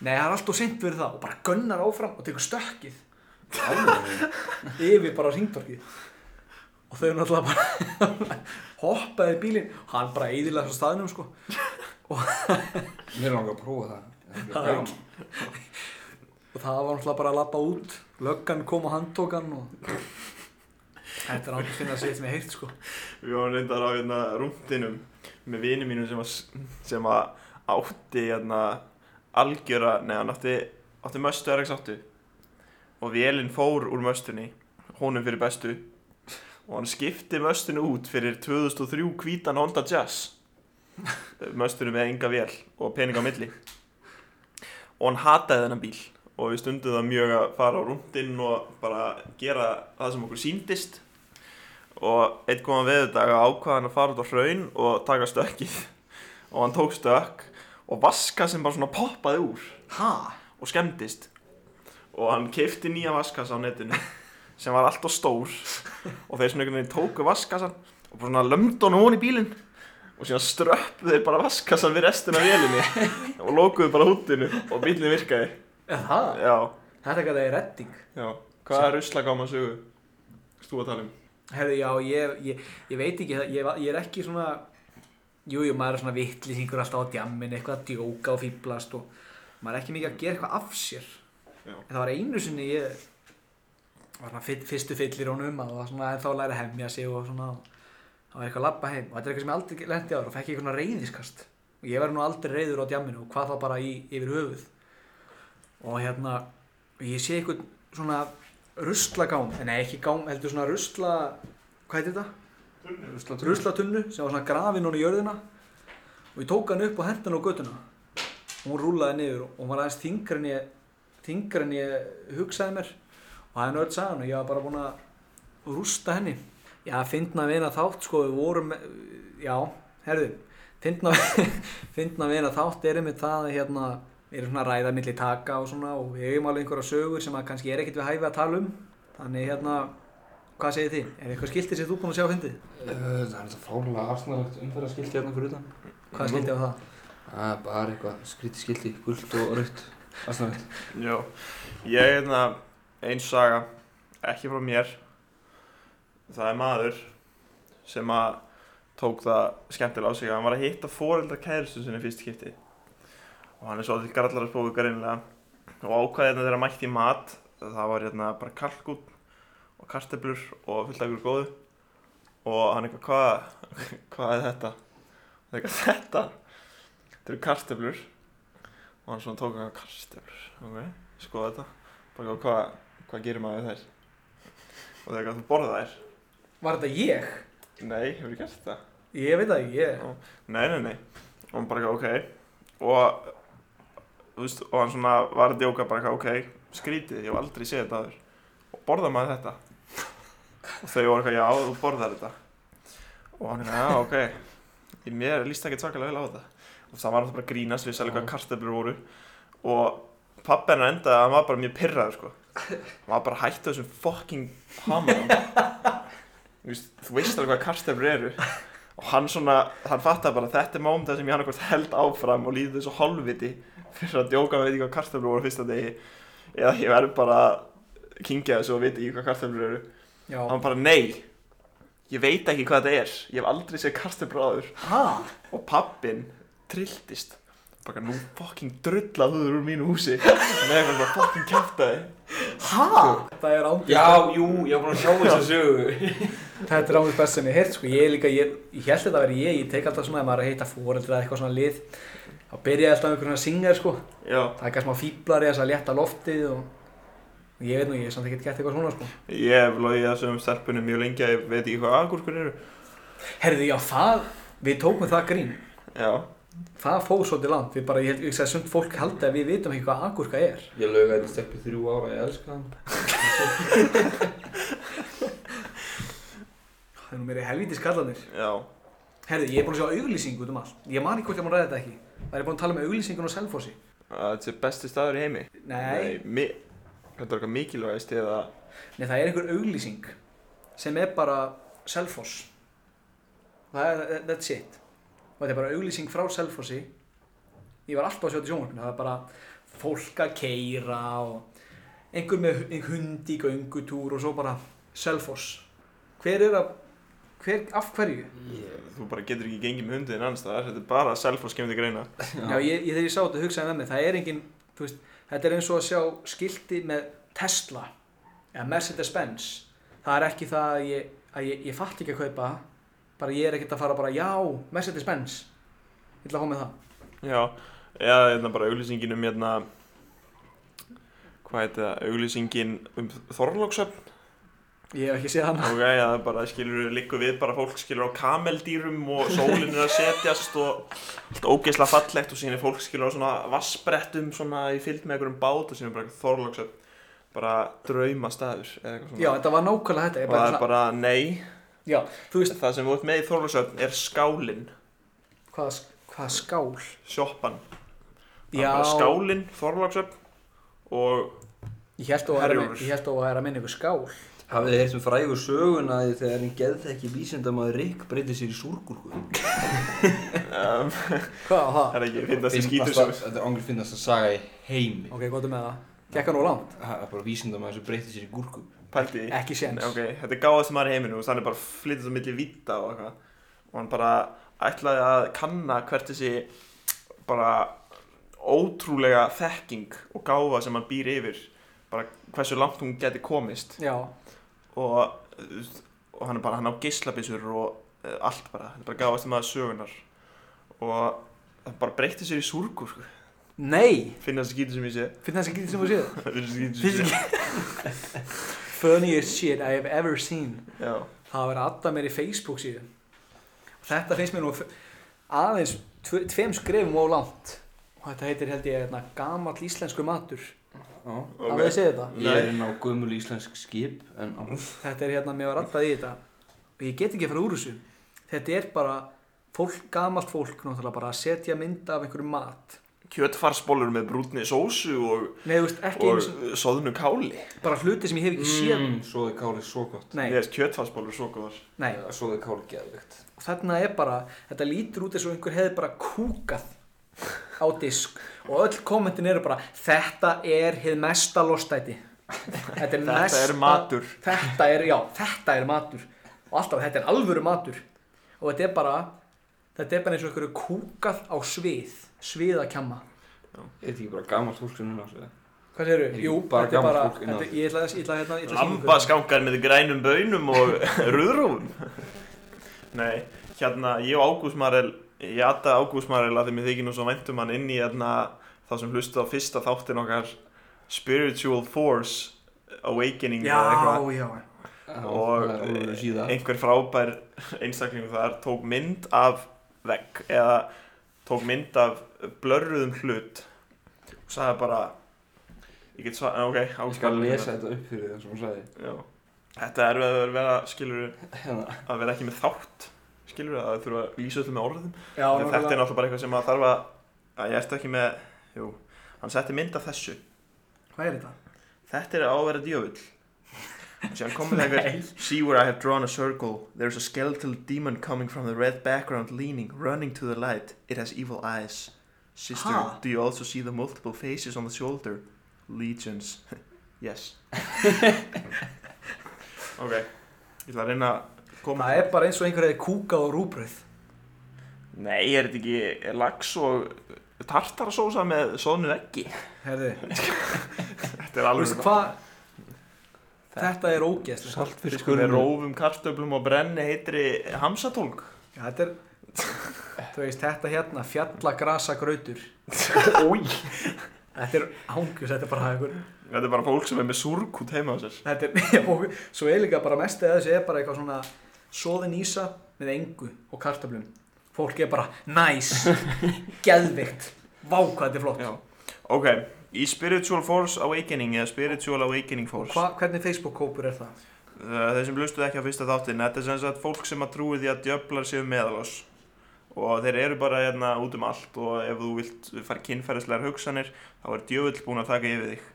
Speaker 3: nei, það er allt og seint fyrir það og bara gönnar áfram og tekur stökkið yfir bara ringtorkið og þau náttúrulega bara hoppaði í bílinn hann bara eðilega frá staðnum sko
Speaker 6: Mér langar að prófa það. Það
Speaker 3: Það
Speaker 6: er
Speaker 3: er
Speaker 6: gaman.
Speaker 3: og það var náttúrulega bara að labba út löggan kom og handtók hann og þetta er annars finna að segja sem ég heilt sko
Speaker 4: Við varum reyndar á hérna rúndinum með vini mínum sem, að, sem að átti hérna algjöra, nei hann átti, átti möstu RX8 og vélinn fór úr möstunni, honum fyrir bestu og hann skipti möstunni út fyrir 2003 hvítan Honda Jazz möstunni með enga vél og pening á milli og hann hataði þennan bíl og við stundum það mjög að fara á rúndinn og bara gera það sem okkur síndist og einn góðan veðurdag ákvað hann að fara út á hraun og taka stökkið og hann tók stökk og vaska sem bara svona poppaði úr
Speaker 3: ha?
Speaker 4: og skemmdist og hann keipti nýja vaskasa á netinu sem var alltaf stór og þeir svona einhvern veginn tóku vaskasan og bara svona lömdu hann hún í bílinn og síðan ströppu þeir bara vaskasan við restina af vélinni og lókuðu bara húttinu og bílinn virkaði
Speaker 3: er það?
Speaker 4: já,
Speaker 3: þetta er eitthvað redding
Speaker 4: já hvað er ruslagáma sögu? Stú að tala um
Speaker 3: herðu já, ég, ég, ég veit ekki það- ég, var- ég er ekki svona jújú, jú, maður er svona vittlýsingur alltaf á djammin eitthvað að djóka og fýblast og maður er ekki mikið að gera eitthvað af sér
Speaker 4: Já.
Speaker 3: en það var einu sinni ég var svona fyr, fyrstu fyllir honum um að það var svona en þá læra að hemja sig og svona það var eitthvað að labba heim og þetta er eitthvað sem ég aldrei lendi ára og fekk ég eitthvað reyðiskast og ég var nú aldrei reyður á djamminu og hvað þá bara í, yfir höfuð og hérna og ég sé eitthvað svona ruslagám eh, nei ekki gám, heldur svona rusla hvað heitir þetta? ruslatunnu sem var svona grafin hún í jörðina og ég tók hann upp og hendan á götuna og hún rúlaði niður og hún var aðeins þingra en ég þingra en ég hugsaði mér og það er nörd sagan og ég var bara búin að rústa henni já, fyndna vina þátt sko við vorum já, herðu fyndna, fyndna vina þátt er einmitt það að hérna er svona að ræða milli taka og svona og við hefum alveg einhverja sögur sem að kannski er ekkert við hæfi að tala um þannig hérna, hvað segir þið? Er eitthvað skiltið sem þú búin að sjá fyndið?
Speaker 6: Uh, Það er þetta fárlega afsnarlegt umferðarskilti hérna fyrir utan.
Speaker 3: Hvað skiltið á það?
Speaker 6: Það er bara eitthvað skrítið skilti, gult og rautt. Afsnarlegt.
Speaker 4: Já, ég er hérna eins saga, ekki frá mér Það er maður sem að tók það skemmtilega á sig að hann var að hitta foreldra kæristu sinni fyrst skipti og hann er svo til grallar að spóka greinlega og ákvaði hérna þegar mætti í mat það var hérna bara kalkún og karteblur og fullt af ykkur góðu og hann eitthvað hvað hvað er þetta? Og það er eitthvað þetta þetta eru karteblur og hann svona tók hann karteblur ok, skoða þetta bara eitthvað, hvað, hvað gerir maður við þær og það er eitthvað þú borða þær
Speaker 3: Var þetta ég?
Speaker 4: nei, hefur ég gert það?
Speaker 3: Ég veit það ekki, ég...
Speaker 4: nei, nei, nei, og hann bara eitthvað, ok og þú veist, og hann svona var að djóka bara eitthvað, ok skrítið, ég hef aldrei séð þetta aður og borða maður þetta og þau voru eitthvað, já, þú borðar þetta og hann eitthvað, já, ok í mér líst ekki svakalega vel á þetta og það var náttúrulega bara að grínast við sælega hvað kartöflur voru og pappi hennar endaði að hann var bara mjög pirraður sko hann var bara að hætta þessum fucking hamar þú veist, þú veist alveg hvað kartöflur eru og hann svona, hann fattaði bara að þetta er mómda sem ég hann eitthvað held áfram og líði þessu holviti fyrir að djóka með veit ekki hvað kartöflur voru á fyrsta degi eða ég verð bara að kingja þessu og veit ekki hvað kartöflur eru
Speaker 3: Já.
Speaker 4: hann bara nei ég veit ekki hvað þetta er ég hef aldrei séð kartöflur áður
Speaker 3: Ha?
Speaker 4: og pappin trilltist bara nú fucking drullað þú úr mínu húsi með eitthvað bara fucking kæftæði
Speaker 3: Ha? Það er ángið.
Speaker 6: Já, jú, ég var búin að sjá þessa sögu.
Speaker 3: Þetta er ángið best sem ég heyrt, sko. Ég er líka, ég, ég held þetta að vera ég, ég tek alltaf svona, ef maður er að heita fóreldra eða eitthvað svona lið, þá byrja ég alltaf einhvern veginn að syngja, sko.
Speaker 4: já
Speaker 3: Það er kannski smá fýblar í þess að létta loftið og... og Ég veit nú, ég er samt ekki gert eitthvað svona, sko.
Speaker 4: ég hef logið þessum stelpunum mjög lengi að ég veit ekki hvað agurkur eru
Speaker 3: Herðu, já, það, við tókum það grín.
Speaker 4: já
Speaker 3: það fór svolítið langt við bara, ég, held- ég sagði sumt fólk haldi að við vitum ekki hvað agurka er
Speaker 6: Ég lög að þetta steppi þrjú ára, ég elska hann.
Speaker 3: það er nú meiri helvítis kallanir
Speaker 4: Já,
Speaker 3: herði, ég er búin að sjá auglýsingu út um allt ég man ekki hvort ég má ræða þetta ekki það er búin að tala um auglýsingun á Selfossi
Speaker 4: þetta er besti staður í heimi
Speaker 3: nei,
Speaker 4: mi Þetta er eitthvað mikilvægist eða
Speaker 3: Nei, það er einhver auglýsing sem er bara Selfoss. Það er, that's it. Og þetta er bara auglýsing frá Selfossi. Ég var alltaf að sjá þetta í sjónvarpinu. Það er bara fólk að keira og einhver með hu- hund í göngutúr og svo bara Selfoss. Hver er að, hver, af hverju?
Speaker 4: Þú bara getur ekki gengið með hundiðin annars staðar Þetta er bara Selfoss kemur til greina
Speaker 3: Já, ég, ég, þegar ég sá þetta hugsaði með mig, það er engin, þú veist, þetta er eins og að sjá skilti með Tesla eða Mercedes-Benz. Það er ekki það að ég, að ég, ég fatt ekki að kaupa, bara ég er ekkert að fara bara, já, Mercedes-Benz. Ég ætla að fá með það.
Speaker 4: Já, eða hérna bara auglýsingin um hérna Hvað heit það, auglýsingin um Þorlóksöfn
Speaker 3: Ég hef ekki séð hana.
Speaker 4: Ok, já, það er bara skilur líku við bara fólk skilur á kameldýrum og sólinn er að setjast og allt ógeðslega fallegt og síðan er fólk skilur á svona vassbrettum svona í fyllt með einhverjum bát og síðan er bara Þorlóksöfn bara draumastæður eða eitthvað svona
Speaker 3: Já, þetta var nákvæmlega þetta. Ég
Speaker 4: og það
Speaker 3: bara,
Speaker 4: er bara nei,
Speaker 3: svona, já, þú veist,
Speaker 4: það sem við ert með í Þorlóksöfn er skálinn,
Speaker 3: hvaða hvað skál?
Speaker 4: sjoppan Það er
Speaker 3: Já,
Speaker 4: bara skálinn, Þorlóksöfn og
Speaker 3: ég held að
Speaker 4: Herjólfur.
Speaker 3: það er að minna ykkur skál.
Speaker 6: Hafið þið heyrt um frægu söguna því þegar einn geðþekki vísindamaður Rick breytið sér í súrgúrku?
Speaker 4: um,
Speaker 3: Hvað,
Speaker 4: það
Speaker 3: hvað?
Speaker 4: er ekki að finna þessi skítur
Speaker 6: Fyndasta- Þetta er ángri finnast að saga í heimi.
Speaker 3: Ok, gott með það. Gekka nú langt.
Speaker 6: Það er bara vísindamaður sem breytið sér í gúrku.
Speaker 4: pælti í.
Speaker 3: Ekki séns.
Speaker 4: Nei, ok, þetta er gáðast maður í heiminu og þannig bara flytast á milli vita og eitthvað og hann bara ætlaði að kanna hvert þessi bara ótrúlega þekking og gáfa sem hann býr yfir bara hversu langt hún geti komist
Speaker 3: Já,
Speaker 4: og, og hann er bara hann á geislabissur og uh, allt bara, þetta er bara gáðast maður sögunar og hann bara breytti sér í súrkur sko.
Speaker 3: nei,
Speaker 4: finna þessi skítur sem ég sé
Speaker 3: finnst það sem getur sem að séð?
Speaker 4: finna þessi skítur sem ég sé
Speaker 3: Fysiski Funniest shit I have ever seen
Speaker 4: já,
Speaker 3: Það var alltaf mér í Facebook síðan Þetta finnst mér nú f- aðeins tve- tveim skrefum og langt og þetta heitir held ég hérna, gamall íslensku matur
Speaker 6: Já.
Speaker 3: Það okay. veist þetta
Speaker 6: Ég er inn á gömul íslensk skip, en á...
Speaker 3: Þetta er hérna, mér var alltaf í þetta og ég get ekki að fara úr þessu Þetta er bara fólk, gamalt fólk náttúrulega bara að setja mynd af einhverju mat
Speaker 4: kjötfarsbólur með brúnni sósu og,
Speaker 3: Nei, þú veist, ekki einu
Speaker 4: og eh,
Speaker 3: sinni,
Speaker 4: soðnu káli
Speaker 3: bara hluti sem ég hef ekki séð
Speaker 6: Mm, Svoði kálið svo gott.
Speaker 3: Nei,
Speaker 4: Ég veist kjötfarsbólur svo góðar
Speaker 3: nei,
Speaker 6: Svoði kálið geðvikt.
Speaker 3: og þarna er bara, þetta lítur út eins og einhver hefði bara kúkað á disk og öll kommentin eru bara þetta er hið mesta lostæti þetta er,
Speaker 4: Þetta
Speaker 3: mesta,
Speaker 4: er matur.
Speaker 3: þetta er, já, þetta er matur og alltaf þetta er alvöru matur og þetta er bara þetta er bara eins og einhverju kúkað á svið sviðakjamma
Speaker 6: Er þetta ekki bara gamalt fólk sem hún ásveða?
Speaker 3: hvað séru?
Speaker 6: Ég-
Speaker 3: Jú, þetta
Speaker 6: bara
Speaker 3: er
Speaker 6: gamalt
Speaker 3: bara
Speaker 6: fólk innan.
Speaker 3: þetta, ég ætla að ég ætla að hérna ég ætla að sýna ykkur.
Speaker 4: Lambaskangar með grænum bönum og röðrófum Nei, hérna ég og Ágúst Marel Ég atta Ágúst Marel að því mér þykir nú svo væntum hann inn í hérna þá sem hlustu á fyrsta þáttin okkar Spiritual Force Awakening eða eitthvað.
Speaker 3: já, já,
Speaker 4: og
Speaker 6: Það er alveg síðan.
Speaker 4: einhver frábær einstaklingur þar tók mynd af vegg eða tók mynd af blörruðum hlut og sagði bara ég get svað, ok, hérna.
Speaker 6: Ég skal lesa þetta upp fyrir það sem hún sagði.
Speaker 4: Já. þetta er verið að vera skilur
Speaker 6: Hérna,
Speaker 4: að vera ekki með þátt skilur að það þurfa að lýsa öllum með orðum
Speaker 3: já
Speaker 4: en þetta er náttúrulega bara eitthvað sem að þarf að, að ég ert ekki með, jú hann setti mynd af þessu,
Speaker 3: hvað er þetta?
Speaker 4: þetta er á að vera djöfull og síðan komið það eitthvað See where I have drawn a circle. There's a skeletal demon coming from the red background, leaning, running to the light. It has evil eyes. Sister,
Speaker 3: Ha.
Speaker 4: do you also see the multiple faces on the shoulder? Legions. yes. ok, ég ætla að reyna að koma. hérna.
Speaker 3: það er bara eins og einhver hefði kúkað á rúbröð
Speaker 4: Nei, er þetta ekki er lax og tartarasósa með soðnu veggi?
Speaker 3: herðu
Speaker 4: Þetta er
Speaker 3: Þú
Speaker 4: alveg
Speaker 3: veist hvað? Þetta er ógeðslega.
Speaker 4: Saltfiskur með rófum, kartöflum og brenni heitri hamsatólk.
Speaker 3: Já, þetta er, þú veist, þetta hérna, fjallagrasa grautur.
Speaker 4: Ói.
Speaker 3: Þetta er ángjus, þetta er bara einhver,
Speaker 4: Þetta er bara fólk sem er með súrkút heima á sér.
Speaker 3: þetta er, og svo er líka bara mest eða þessi er bara eitthvað svona soðin ísa með engu og kartablum fólk er bara næs, geðvikt vákvað þetta er flott
Speaker 4: Já. Ok, í Spiritual Force Awakening eða Spiritual Awakening Force
Speaker 3: Hva, hvernig Facebook-kópur er það?
Speaker 4: Uh, Þeir sem lustuð ekki á fyrsta þáttin Þetta er sem sagt fólk sem að trúi því að djöflar séu meðalás Og þeir eru bara hérna út um allt Og ef þú vilt fara kynferðislegar hugsanir Þá er djöfull búinn að taka yfir þig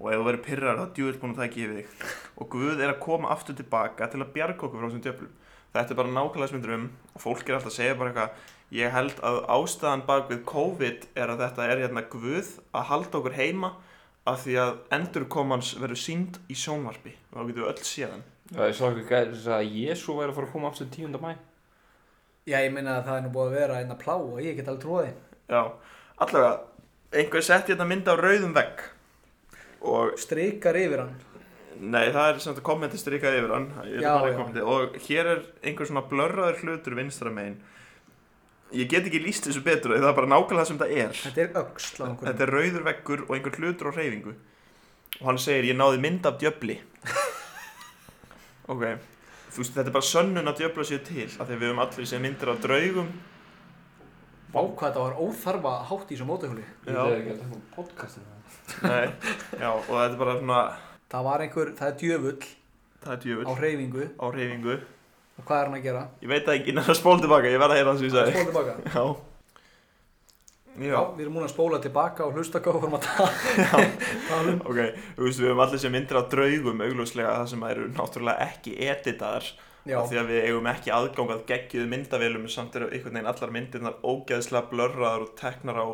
Speaker 4: Og ef þú verður pyrrar þá er djöfull búinn að taka yfir þig Og Guð er að koma aftur tilbaka Til að bjarga okkur frá þessum djöflum Þetta er bara nákvæmlega sem við drum Og fólk er alltaf að segja bara eitthvað Ég held að ástæðan bak við COVID Er að þetta er hérna Guð að halda okkur heima af því að endurkomans verður sínd í sjónvarpi og þá getum við öll séð hann
Speaker 6: Já, ég sá ekki gæri þess að Jésu væri að fara að koma aftur 10. mæ.
Speaker 3: Já, ég minna að það er nú búið að vera einn að plá og ég get alveg tróði
Speaker 4: já, allavega, einhver setti hérna mynd á rauðum vegg og
Speaker 3: Streikar yfir hann
Speaker 4: nei, það er sem þetta kommenti strikað yfir hann Ég
Speaker 3: Já,
Speaker 4: ætla bara í
Speaker 3: já.
Speaker 4: kommentið. og hér er einhver svona blörraður hlutur vinstra megin ég get ekki líst þessu betur það er bara nákvæmlega það sem þetta er
Speaker 3: Þetta er öxl á einhverjum
Speaker 4: Þetta er rauður veggur og einhver hlutur á reyfingu Og hann segir, ég náði mynd af djöfli Ok Þú veist, þetta er bara sönnun að djöfla séu til Af því við höfum allir séð myndir af draugum
Speaker 3: Vákvað þetta var óþarfa hátt í þessu mótahjóli
Speaker 6: Ég veit ekki að það fór podcastinu.
Speaker 4: Nei, já, og þetta er bara svona
Speaker 3: Það var einhver, það er djöfull
Speaker 4: Það er
Speaker 3: á
Speaker 4: djöfull
Speaker 3: hreyfingu
Speaker 4: á reyfingu
Speaker 3: og hvað er hann að gera?
Speaker 4: Ég veit það ekki, en það er spól tilbaka, ég verð að heyra hans við sagði
Speaker 3: Spóla tilbaka
Speaker 4: Já Já,
Speaker 3: Já, við erum múin að spóla tilbaka og hlusta hvað við vorum að tala tala um
Speaker 4: ok, þú veist, við höfum allir séð myndir af draugum augljóslega það sem eru náttúrulega ekki editaðar
Speaker 3: Já,
Speaker 4: af því að við eigum ekki aðgang að geggjuðu myndavélum en samt eru einhvern veginn allar myndirnar ógeðslega blörraðar og teknar á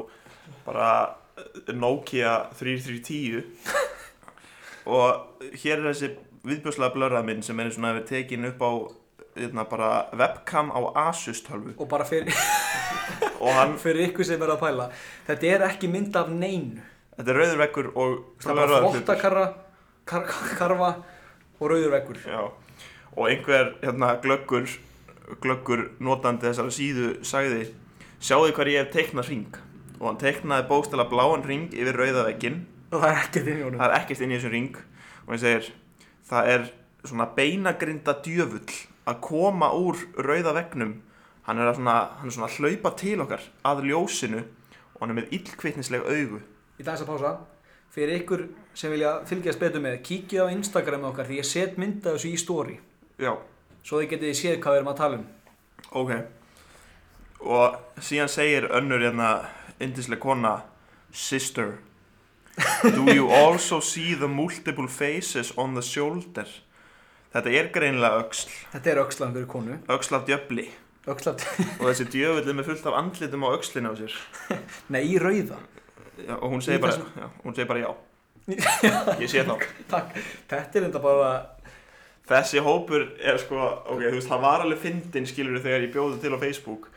Speaker 4: bara eh, Nokia 3310 og hér er þessi viðbjóslega blörrað mynd sem er svona að vera tekin upp á hérna, bara webcam á Asus tölvu
Speaker 3: og bara fyrir,
Speaker 4: og hann,
Speaker 3: fyrir ykkur sem er að pæla Þetta er ekki mynd af neinu
Speaker 4: þetta er rauður vekkur og
Speaker 3: Það er bara
Speaker 4: hlutur.
Speaker 3: þvottakarra, kar, karfa og rauður veggur
Speaker 4: Já, og einhver hérna glöggur, glöggur notandi þessara síðu sagði Sjáðu hvað ég hef teiknað ring Og hann teiknaði bókstala bláan ring yfir rauðaveggin
Speaker 3: og það er ekkert inn í honum
Speaker 4: Það er ekkert inn í þessum ring Og hann segir Það er svona beinagrinda djöfull Að koma úr rauðavegnum Hann er að svona, hann er svona að hlaupa til okkar Að ljósinu Og hann er með illkvittnisleg augu
Speaker 3: í dags að pása fyrir ykkur sem vilja fylgjast betur með kíkja á Instagram okkar því ég set mynda þessu í story
Speaker 4: Já,
Speaker 3: svo þið getið séð hvað við erum að tala um
Speaker 4: Ok Og síðan segir önnur hérna Indislega kona Sister Do you also see the multiple faces on the shoulder Þetta er greinilega öxl
Speaker 3: þetta er öxlan fyrir konu
Speaker 4: Öxl af djöfli
Speaker 3: öxlan,
Speaker 4: Og þessi djöfull er með fullt af andlitum á öxlinu á sér
Speaker 3: nei í rauða
Speaker 4: já, Og hún segir,
Speaker 3: Í
Speaker 4: bara,
Speaker 3: þessum-
Speaker 4: já, hún segir bara já Ég sé þá
Speaker 3: takk, þetta er enda bara
Speaker 4: Þessi hópur er sko, ok, þú veist, það var alveg fyndin skilur þegar ég bjóði til á Facebook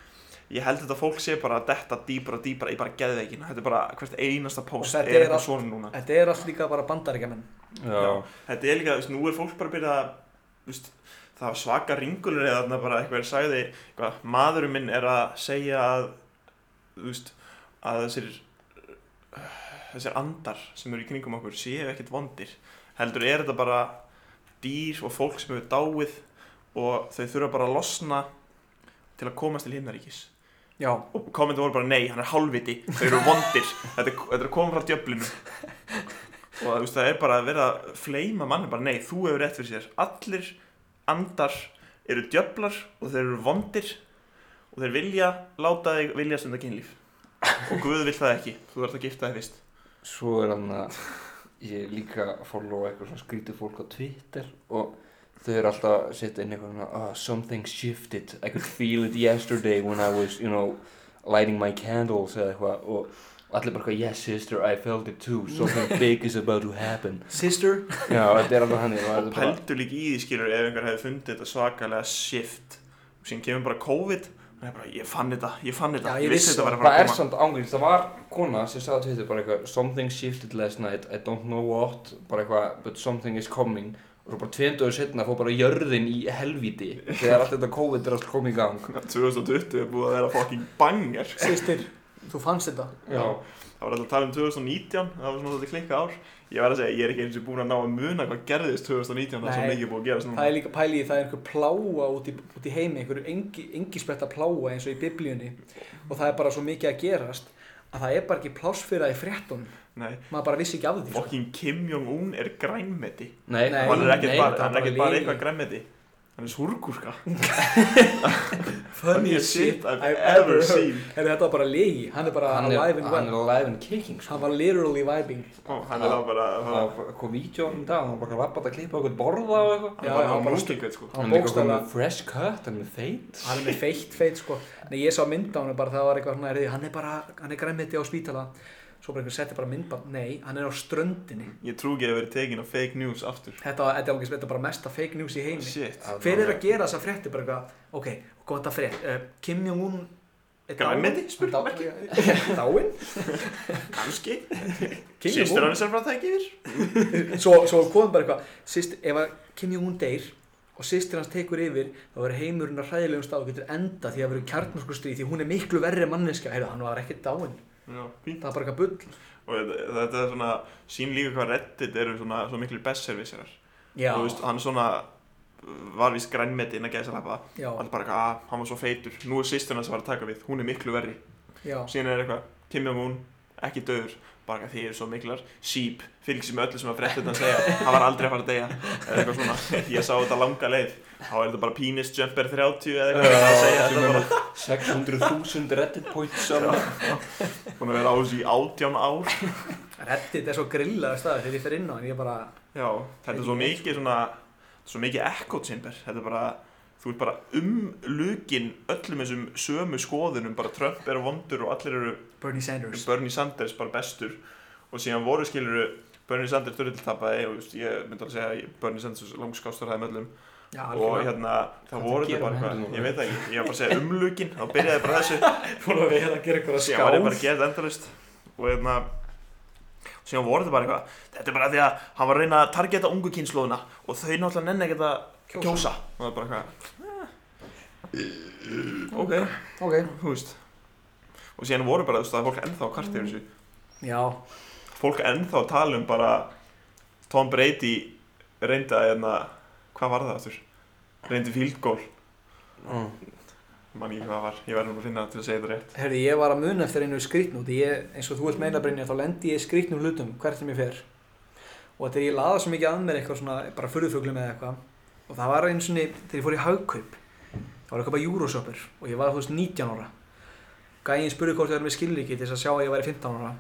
Speaker 4: Ég held þetta fólk sé bara að detta dýbra og dýbra í bara geðveikina Þetta er bara hvert einasta post
Speaker 3: þetta
Speaker 4: er
Speaker 3: er
Speaker 4: eitthvað
Speaker 3: allt-
Speaker 4: svona núna
Speaker 3: þetta er allt líka bara bandaríkjamenn
Speaker 6: Já.
Speaker 4: Þetta er líka, þú veist, nú er fólk bara að byrja að, þú veist, það var svaka ringulur eða þarna bara eitthvað er sagði eitthvað, maðurinn minn er að segja að, þú veist, að þessir, þessir andar sem eru í kringum okkur séu ekkert vondir. Heldur er þetta bara dýr og fólk sem hefur dáið og þau þurfa bara að losna til að komast til himnaríkis.
Speaker 3: já,
Speaker 4: Og kommentin voru bara nei, hann er halvviti, þau eru vondir, þetta er, þetta er komið frá djöflinu. Og þú veist, það er bara að vera að fleima manni, bara nei, þú hefur rétt fyrir sér. Allir andar eru djöflar og þeir eru vondir og þeir vilja láta þig vilja stunda kynlíf. Og Guð vil það ekki, þú ert að gifta þig fyrst.
Speaker 6: Svo er hann að ég líka followa eitthvað svona skrítið fólk á Twitter og þau eru alltaf að setja inn eitthvað svona oh, Something shifted, I could feel it yesterday when I was, you know, lighting my candles eða eitthvað og allir bara eitthvað Yes sister, I felt it too, something big is about to happen
Speaker 3: sister
Speaker 6: Já, þetta er alltaf hann og þetta er bara
Speaker 4: Pældur líka í því skilur ef einhver hefði fundið þetta svakalega shift. Og síðan kemur bara COVID og það er bara, ég fann þetta, ég fann þetta,
Speaker 3: Já, ég vissi
Speaker 4: þetta
Speaker 3: það.
Speaker 4: var að
Speaker 6: Það
Speaker 4: fara að
Speaker 6: er
Speaker 4: koma.
Speaker 6: samt ángríns, það var kona sem sagði á Twitter bara eitthvað Something shifted last night, I don't know what, bara eitthvað, but something is coming Og svo bara tveimdöðu setna fór bara jörðin í helvíti Þegar allt þetta COVID er allt komið í gang
Speaker 4: 2020 er búið að vera fucking banger
Speaker 3: sister, Þú fannst þetta?
Speaker 6: Já.
Speaker 4: Það var alltaf að tala um 2019, það var svona þetta klikka ár. Ég verð að segja, ég er ekki eins og búin að ná að muna hvað gerðist 2019, það er svo
Speaker 3: Nei.
Speaker 4: mikið búið að gerast núna.
Speaker 3: Það er líka pæli í það er einhver pláa út í, út í heimi, einhver engi, engi spretta pláa eins og í biblíunni og það er bara svo mikið að gerast að það er bara ekki pláss fyrir það í fréttunum.
Speaker 4: Nei,
Speaker 3: Maður bara vissi ekki af því. sko.
Speaker 4: fokkin Kim Jong-un er grænmeti.
Speaker 6: Nei,
Speaker 3: Nei.
Speaker 4: Hann er ekkert bara,
Speaker 3: það
Speaker 4: hann
Speaker 3: var
Speaker 4: er
Speaker 3: bara
Speaker 4: ekkert bara
Speaker 3: lygi.
Speaker 4: eitthvað grænmeti. Hann er súrgúrka.
Speaker 3: Funny shit I've ever seen. Herri, þetta var bara legi, hann er bara
Speaker 6: Hann er,
Speaker 3: alive and
Speaker 6: hann er
Speaker 3: well.
Speaker 6: alive and kicking sko.
Speaker 3: Hann var literally vibing.
Speaker 4: Ó, Hann er þá bara,
Speaker 6: Það
Speaker 4: hann
Speaker 6: var bara- kom vídeo um dag, hann var bara rappað að klippa okkur borða og eitthvað
Speaker 3: Já,
Speaker 4: er bara
Speaker 3: hann bara
Speaker 4: múskelgveit sko.
Speaker 3: Hann
Speaker 6: Hann er líka komið
Speaker 3: bókstaflega-
Speaker 6: með fresh cut, hann er með feit
Speaker 3: Hann er með feitt, feitt sko. Nei, ég sá mynd á hann bara það var eitthvað svona, heyrðu, hann er bara, hann er grænmeti á spítala. Svo bara einhver setti bara myndband, nei, hann er á ströndinni.
Speaker 4: Ég trú ekki að verið tekin af fake news aftur.
Speaker 3: Þetta var, þetta var, þetta var bara mesta fake news í heimi.
Speaker 4: Shit.
Speaker 3: Hver er að gera þessa frétti bara eitthvað, ok, gott að frétt, uh, Kim Jong-un er
Speaker 4: Grænmeti?
Speaker 3: spurningamerki? Dáinn?
Speaker 4: Kanski.
Speaker 3: Kim
Speaker 4: Sýstur
Speaker 3: Jong-un?
Speaker 4: hann sem frá það ekki yfir.
Speaker 3: Svo, svo kom bara eitthvað, sýst, ef að Kim Jong-un deyr og sýstir hans tekur yfir, þá verður heimurinn að hræðilegum stað og getur enda því að verður kjarnorkustríð því hún er miklu verri manneska, heyrðu, hann var ekkert dáinn,
Speaker 4: Já, fínt.
Speaker 3: það var bara eitthvað bull.
Speaker 4: Og þetta- þetta er svona, sín líka hvað Reddit eru svona, svo miklu bestservicerar.
Speaker 3: Já,
Speaker 4: Þú veist, hann svona var víst grænmeti innan gæðsalapa.
Speaker 3: já,
Speaker 4: Hann bara, að hann var svo feitur. Nú er sýstur hans að fara að taka við. Hún er miklu verri.
Speaker 3: já,
Speaker 4: síðan er eitthvað Kim Jong-un, ekki döður bara því eru svo miklar, síp fylgst með öllu sem að frétta þetta að segja hann var aldrei að fara að deyja eða eitthvað svona, ég sá þetta langa leið þá er þetta bara penis jumper 30 eða eitthvað að segja
Speaker 6: sem
Speaker 4: þetta
Speaker 6: er
Speaker 4: bara
Speaker 6: með 600.000 reddit points á hann.
Speaker 4: búin að vera á þessu í átján ár
Speaker 3: reddit er svo grillaði staður þegar ég fer inn á hann, ég bara,
Speaker 4: já, þetta er svo mikið svona svo mikið echo chamber þetta er bara, þú ert bara umlukin öllum þessum sömu skoðunum bara Trump er vondur og allir eru um
Speaker 3: Bernie Sanders.
Speaker 4: Bernie Sanders bara bestur og síðan voru skiluru Bernie Sanders dörrilltappaði og veist, ég myndi alveg segja að Bernie Sanders langskástur hæði möllum
Speaker 3: Já,
Speaker 4: og
Speaker 3: algjörlega.
Speaker 4: hérna það
Speaker 6: Hvað
Speaker 4: voru
Speaker 6: það
Speaker 4: þetta bara
Speaker 6: gerir með
Speaker 4: eitthvað
Speaker 6: hendurnar?
Speaker 4: ég veit það ekki, ég var bara að segja umlukin þá byrjaði bara þessu
Speaker 3: Fórum við hérna að gera eitthvað
Speaker 4: síðan var ég bara að gera þetta endalist og hérna síðan voru þetta bara eitthvað þetta er bara því að hann var að reyna að targeta ungu kynnslóðuna og þau náttúrulega nenni ekkert að
Speaker 3: Kjósa.
Speaker 4: kjósa og það er bara eitthvað eh, ok,
Speaker 3: Ok,
Speaker 4: þú veist og síðan voru bara, þú veist, það er fólk ennþá kvart yfir þessu
Speaker 3: já,
Speaker 4: fólk ennþá tala um bara Tom Brady reyndi að hérna, hvað var það aftur? Reyndi field goal, mann ég hvað það var, ég verður nú að finna það til að segja þetta rétt.
Speaker 3: Herði, ég var að muna eftir einu skrýtnú því ég, eins og þú vilt meina Brynja, þá lendi ég í skrýtnum hlutum hvert sem ég fer og þegar ég laða svo mikið að mér eitthvað svona, bara furðufuglum eða eitthvað og það var eins og þegar ég fór í haugkaup það var eitthvað bara júrósöpur og ég var þú veist 19 ára gæinn spurði hvort ég var með skilríki til þess að sjá að ég væri 15 ára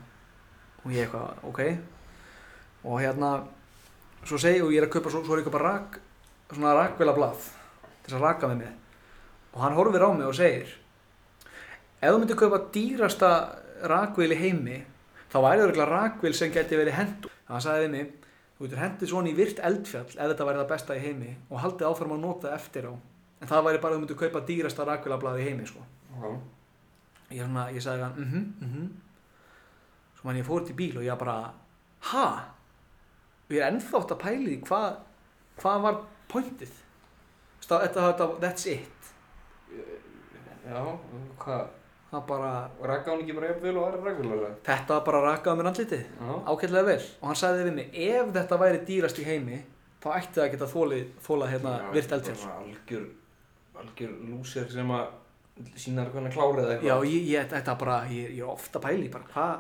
Speaker 3: og ég eitthvað, ok og hérna svo segi og ég er að kaupa, svo, svo er eitthvað bara rak, svona rakvela til þess að raka með mig og hann horfir á mig og segir ef þú myndir kaupa dýrasta rakvél í heimi þá væri það örugglega rakvél sem geti verið hendu hann sagði við mig þú getur hendið svona í virt eldfjall ef þetta væri það besta í heimi og haldið áfram að nota það eftir á en það væri bara að þú myndir kaupa dýrasta rakvélablað í heimi sko. ég, svona, ég sagði við hann mhm, mhm svo mann ég fór út í bíl og ég bara ha og ég er ennþá átt að pæli því hvað hvað var pointið Þú veist, það- þetta, þetta, that's it
Speaker 6: Já, hvað?
Speaker 3: það bara,
Speaker 6: Rækka hann ekki bara jafnvel og aðra rækkulega?
Speaker 3: þetta var bara rakaði mér andlitið
Speaker 6: Já.
Speaker 3: ágætlega vel og hann sagði við mig ef þetta væri dýrast í heimi þá ætti það að geta þólið, þólað hérna
Speaker 6: Já,
Speaker 3: virt
Speaker 6: þetta er
Speaker 3: eldfjall
Speaker 6: bara Algjör, algjör lúsir sem að sínar hvernig klárið eða
Speaker 3: já,
Speaker 6: eitthvað.
Speaker 3: ég, ég, þetta bara, ég, ég er ofta pæli bara, hvað,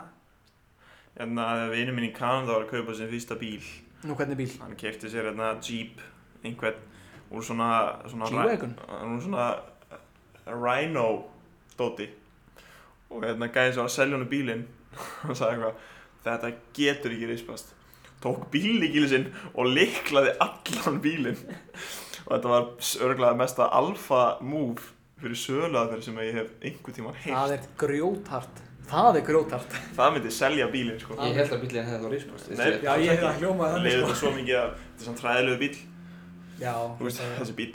Speaker 4: Hérna, vinnu minn í Kanada var að kaupa sinn fyrsta bíl,
Speaker 3: nú hvernig bíl
Speaker 4: hann kefti sér hérna Jeep, einhvern, úr svona, svona,
Speaker 3: G-Wagon?
Speaker 4: hann úr svona eh, Rhino dóti og hérna gæði svo að selja hann bílinn og sagði eitthvað, þetta getur ekki rispast tók bíllíkilsinn og liklaði allan bílinn og þetta var örglega mesta alfa move fyrir söluaðferð sem ég hef einhvern tímann
Speaker 3: það
Speaker 4: heilt
Speaker 3: er grjóthart það er grjóthart
Speaker 4: það myndi selja bílinn sko
Speaker 6: Ég held að bílinn hefði þá rispast.
Speaker 4: Nei.
Speaker 6: Ég-
Speaker 4: Já, ég hefði það
Speaker 3: hljómað
Speaker 4: Það leiði þetta svo mikið að þetta er svona træðilegu bíl
Speaker 3: sko. já,
Speaker 4: Þú veist, þessi bíl,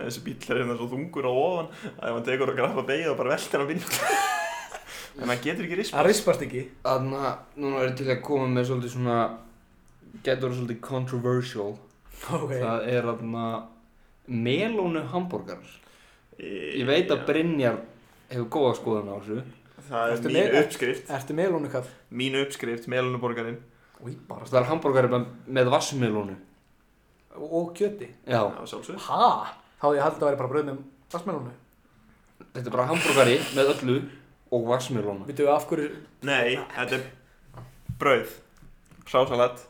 Speaker 4: þessi bíl er hérna svo þungur á ofan að ef hann tekur að graffa beigð og bara veltir hann bíl en hann getur ekki rispa
Speaker 3: það rispast ekki
Speaker 6: Þannig að núna er ég til að koma með svolítið svona, getur verið svolítið controversial.
Speaker 3: ok,
Speaker 6: Það er þarna melónu hambúrgarar.
Speaker 4: Ég
Speaker 6: Ég veit að Brynjar hefur góða skoðun á þessu.
Speaker 4: það er
Speaker 3: Ertu
Speaker 4: mín
Speaker 3: með-
Speaker 4: uppskrift
Speaker 3: Ertu með lónukaff?
Speaker 4: mín uppskrift, melunuborgarinn
Speaker 3: Új, bara.
Speaker 6: Það er hambúrgari með, með vassmilónu.
Speaker 3: Og, og kjöti.
Speaker 6: Já,
Speaker 4: á sjálfsög
Speaker 3: Ha? Þá hafði ég haldið að það væri bara brauð með vassmelónu.
Speaker 6: þetta er bara hambúrgari með öllu og vassmilónu.
Speaker 3: Vitið við af hverju...
Speaker 4: nei, þetta er brauð sásalat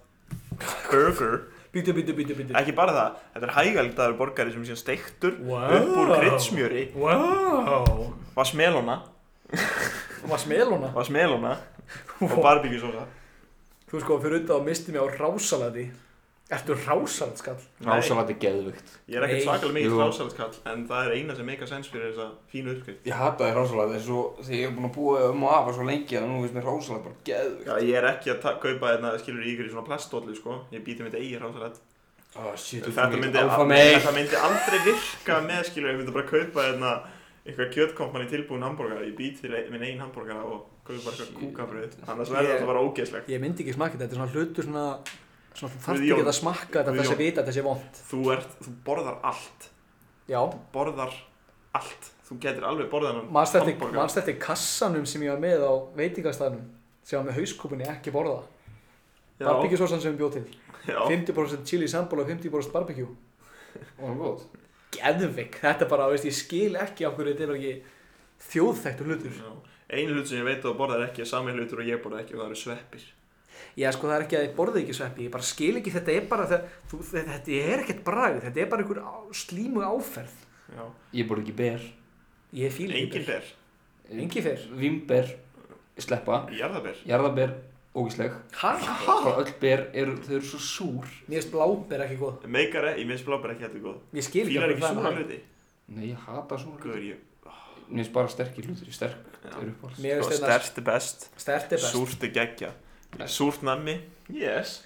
Speaker 4: burger,
Speaker 3: Bítu, bítu, bítu, bítu.
Speaker 4: ekki bara það þetta er hægældaður borgari sem er síðan steiktur
Speaker 3: Wow.
Speaker 4: upp úr kryddsmjöri
Speaker 3: Wow!
Speaker 4: vassmelona,
Speaker 3: Vassmelóna?
Speaker 4: vassmelona og barbíkjusósa
Speaker 3: Þú sko, fyrir undan og misti mig á rásalati. Ertu rásalat, skall?
Speaker 6: Rásalat er geðvikt.
Speaker 4: ég er
Speaker 3: Nei.
Speaker 4: ekkert svakalega
Speaker 6: Jú.
Speaker 4: mikið sásalatskall en það er eina sem meika sens fyrir þessa fínu uppskrift
Speaker 6: Ég hataði rásalat eins og því ég er búin að búa um og afa svo lengi að nú veist mér rásalat bara geðvikt.
Speaker 4: Já, ég er ekki að ta- kaupa hérna, skilur ykkur í svona plastólu, sko. Ég býti mitt eigin rásalat.
Speaker 6: Ah, shit, þú
Speaker 4: Þetta
Speaker 6: ert
Speaker 4: myndi,
Speaker 6: alfa meil.
Speaker 4: þetta myndi aldrei virka með, skilur, ég myndi bara kaupa hérna eitthvað kjötkompani tilbúin hambúrgara, ég být til ein- minn eigin hambúrgara og kaupa bara eitthvað kúkabröð, annars verður
Speaker 3: Ég-
Speaker 4: þetta bara ógeðslegt.
Speaker 3: Ég myndi ekki smakka þetta, þetta er svona hlutur svona... Svona þú þarft
Speaker 4: Guðjón.
Speaker 3: ekki að smakka þetta,
Speaker 4: Guðjón.
Speaker 3: þessi vita, þessi vond.
Speaker 4: Þú ert, þú borðar allt,
Speaker 3: Já.
Speaker 4: borðar allt, þú getur alveg borðað hann
Speaker 3: Manst eftir, manst eftir kassanum sem ég var með á veitingastæðnum sem var með hauskúpunni ekki borða
Speaker 4: Já,
Speaker 3: barbíkjusósan sem ég bjóð til
Speaker 4: já,
Speaker 3: 50% chili sambal og 50% barbíkjú
Speaker 6: Ó, gott.
Speaker 3: Geðvik, þetta er bara, veist, ég skil ekki af hverju þetta er bara ekki þjóðþektur hlutur
Speaker 4: já. Einu hlut sem ég veit að þú borðar ekki er sami hlutur og ég borða ekki og það eru sveppir.
Speaker 3: Já, sko, það er ekki að ég borði ekki sveppi ég bara skil ekki, þetta er bara það, þú, þetta, þetta er ekkert bragð, þetta er bara einhver á, slímu áferð
Speaker 4: Já,
Speaker 6: Ég borði ekki ber.
Speaker 3: Ég fíl
Speaker 4: engin ber,
Speaker 3: Engi fyrr
Speaker 6: Vimber, sleppa,
Speaker 4: jarðaber.
Speaker 6: jarðaber, ógísleg.
Speaker 3: Hæ?
Speaker 6: Bara öll ber, eru, þau eru svo súr.
Speaker 3: Mér finnst bláber ekki góð
Speaker 4: Meikar, ég minnst bláber ekki þetta er góð.
Speaker 3: Ég skil ekki
Speaker 4: Fílar ekki
Speaker 3: það er
Speaker 4: súra
Speaker 3: hann.
Speaker 4: hluti.
Speaker 6: Nei, ég hata súr.
Speaker 4: Guður, ég,
Speaker 6: Mér finnst bara sterkir hlutir, sterk
Speaker 4: Já.
Speaker 6: er uppáhalds.
Speaker 3: Mér
Speaker 4: sko,
Speaker 3: finnst þetta
Speaker 4: stærst er best.
Speaker 3: stert er hérna- best
Speaker 4: Súrt er geggja Súrt nammi Yes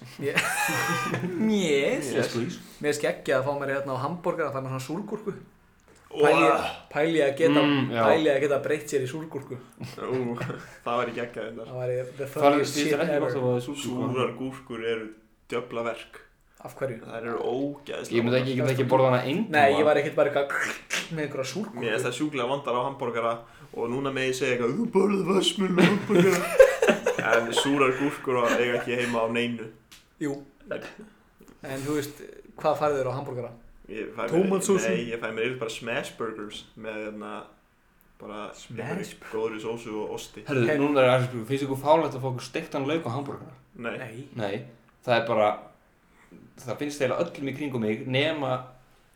Speaker 3: Mjess
Speaker 6: Yes, please.
Speaker 3: Mér er skeggjað að fá mér hérna á hambúrgar að fá mér svona súrgúrku Pæli,
Speaker 4: Ó,
Speaker 3: pæli, að geta,
Speaker 6: Mm, já.
Speaker 3: pæli að geta breytt sér í súrgúrku
Speaker 4: ú, Það væri geggjað þetta
Speaker 3: Það væri the
Speaker 6: Það er
Speaker 3: funniest shit
Speaker 6: þetta ekki
Speaker 3: ever
Speaker 6: gott að það er súr. sko.
Speaker 4: hérna. Súrar gúrkur eru djöfla verk
Speaker 3: Af hverju?
Speaker 4: Það eru ógeðslega
Speaker 6: Ég myndi ekki, ég myndi ekki borða hana engum.
Speaker 3: Nei, ég var ekkert bara eitthvað með einhverja
Speaker 4: vondar. Mér
Speaker 3: súrgúrku
Speaker 4: er það sjúklega vandar á hambúrgara Og núna með ég segja eitthvað Þú borðið vassmjöl með hambúrgara En súrar gúrkur á- eiga ekki heima á neinu
Speaker 3: Jú En þú veist, hvað farið þér á hambúrgara?
Speaker 4: Ég fæ mér-
Speaker 3: Tómatsósu?
Speaker 4: Nei, ég fæ mér yfir bara smash burgers Með hérna Bara
Speaker 3: Smash?
Speaker 4: einhverju Góðri sósu og osti
Speaker 6: Herðu,
Speaker 3: Hey.
Speaker 6: núna er aðeins, sko, finnst ykkur fálegt að fá okkur steiktan lauk á hambúrgarna?
Speaker 4: Nei
Speaker 3: Nei
Speaker 6: Nei, það er bara, það finnst eiginlega öllum í kringum mig, nema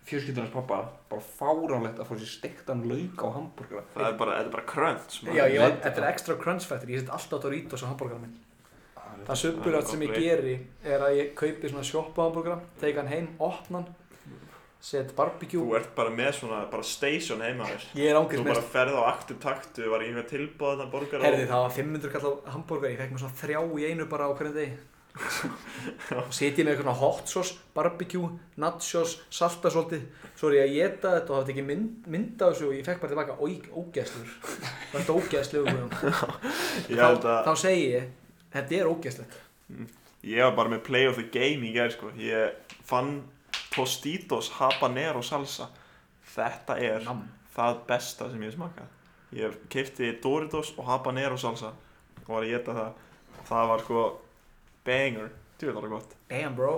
Speaker 6: fjölskyldunars pappa, bara fáránlegt að fá sér steiktan lauk á hambúrgarna.
Speaker 4: Það er bara, þetta er bara krönt
Speaker 3: Já, ég var, þetta er extra crunch factor Ég set alltaf Doritos á hambúrgara minn
Speaker 4: Ah,
Speaker 3: Það söpulegt sem ég geri er að ég kaupi svona sjoppa hambúrgara Teika hann heim, opna hann Set barbecue
Speaker 4: Þú ert bara með svona, bara station heima þér
Speaker 3: Ég er
Speaker 4: Þú
Speaker 3: ángriðs
Speaker 4: bara ferð á aktu taktu, var ekki eitthvað tilbúið þarna borgar
Speaker 3: Herði það var 500 kall á hambúrgar, ég fekk mér svona þrjá í einu bara á hverjum degi og setjið með eitthvað svona hot sauce, barbecue, nachos, salta svolítið svo er ég að geta þetta og hafði ekki mynd, mynd af þessu og ég fekk bara tilbaka "Oj, ógeðslegur það er ógeðslegur Guðjón."
Speaker 4: Ég held
Speaker 3: þá
Speaker 4: að,
Speaker 3: segi ég, þetta er ógeðslegt
Speaker 4: ég var bara með play of the game í gerð sko Ég fann Tostitos habanero salsa Þetta er
Speaker 3: Nam.
Speaker 4: það besta sem ég hef smakað Ég keipti Doritos og habanero salsa og var að geta það Það var sko banger, djúvel var það gott
Speaker 3: damn bro,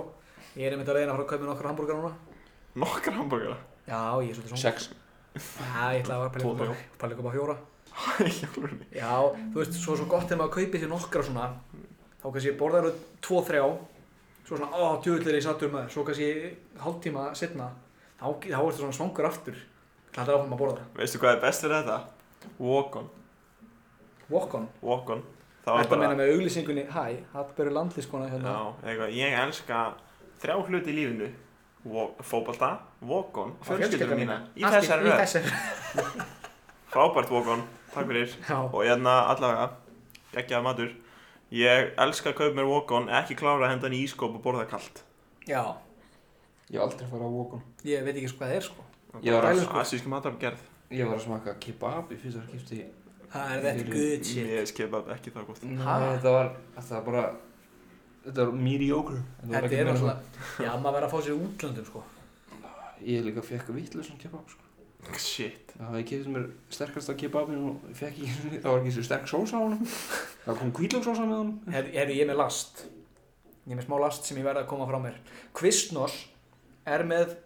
Speaker 3: ég er einmitt að reyna að fara að kaupa mér nokkra hambúrgar núna
Speaker 4: Nokkra hambúrgara
Speaker 3: já, ég er svolítið svona
Speaker 6: Sex.
Speaker 3: já, ég ætla að
Speaker 4: Tvo,
Speaker 3: vera
Speaker 4: þrjá.
Speaker 3: pæli að koma fjóra
Speaker 4: Í alvörunni.
Speaker 3: Já, þú veist, svo er svo gott þegar maður kaupir sér nokkra svona þá kannski ég borðar þau tvo, þrjá svo svona, ó, djöfull er ég sattur maður svo kannski hálftíma setna þá, þá ertu svona svangur aftur hlættar áfram að borða
Speaker 4: Veistu hvað er best fyrir þetta? Walk on,
Speaker 3: Walk on,
Speaker 4: walk on Það var
Speaker 3: þetta
Speaker 4: bara-
Speaker 3: meina með auglýsingunni Hæ, Hallbergur landlískona hérna
Speaker 4: Já, eitthvað, ég elska þrjá hluti í lífinu Walk- Fótbolta, walk-on,
Speaker 3: Á
Speaker 4: fjölskylduna mína Í
Speaker 3: Allt
Speaker 4: þessari
Speaker 3: Í
Speaker 4: röð,
Speaker 3: þessari
Speaker 4: frábært walk-on, takk fyrir
Speaker 3: Já,
Speaker 4: Og hérna allavega, geggjaða matur Ég elska að kaupa mér walk-on, ekki klára að henda henni í ískóp og borða kalt
Speaker 3: já,
Speaker 6: Ég hef aldrei farið á Wokon.
Speaker 3: ég veit ekki sko hvað það er sko
Speaker 6: Ég var að,
Speaker 3: Pælum, sko.
Speaker 4: Asísku matargerð,
Speaker 6: ég var að smaka kebab í fyrsta skipti.
Speaker 3: Það er þetta
Speaker 6: Fyrir-
Speaker 3: good shit
Speaker 4: ég skipað ekki það gott
Speaker 6: Nei,
Speaker 3: Ha?
Speaker 6: þetta var, þetta var bara, þetta var mediocre. Þetta var
Speaker 3: Þetta
Speaker 6: ekki
Speaker 3: er
Speaker 6: meira
Speaker 3: náttúrulega, já maður verður að fá sér útlöndum sko
Speaker 6: Ég líka fekk vittlausan kebab sko.
Speaker 4: Shit
Speaker 6: Það hafði kefið sem er sterkast að kebabin og fekk ekki, það var ekki svo sterk sósa á honum. Það kom kvítlöksósa með honum.
Speaker 3: Herði, herði, ég er með last. Ég er með smá last sem ég verði að koma frá mér. Kvistnós er með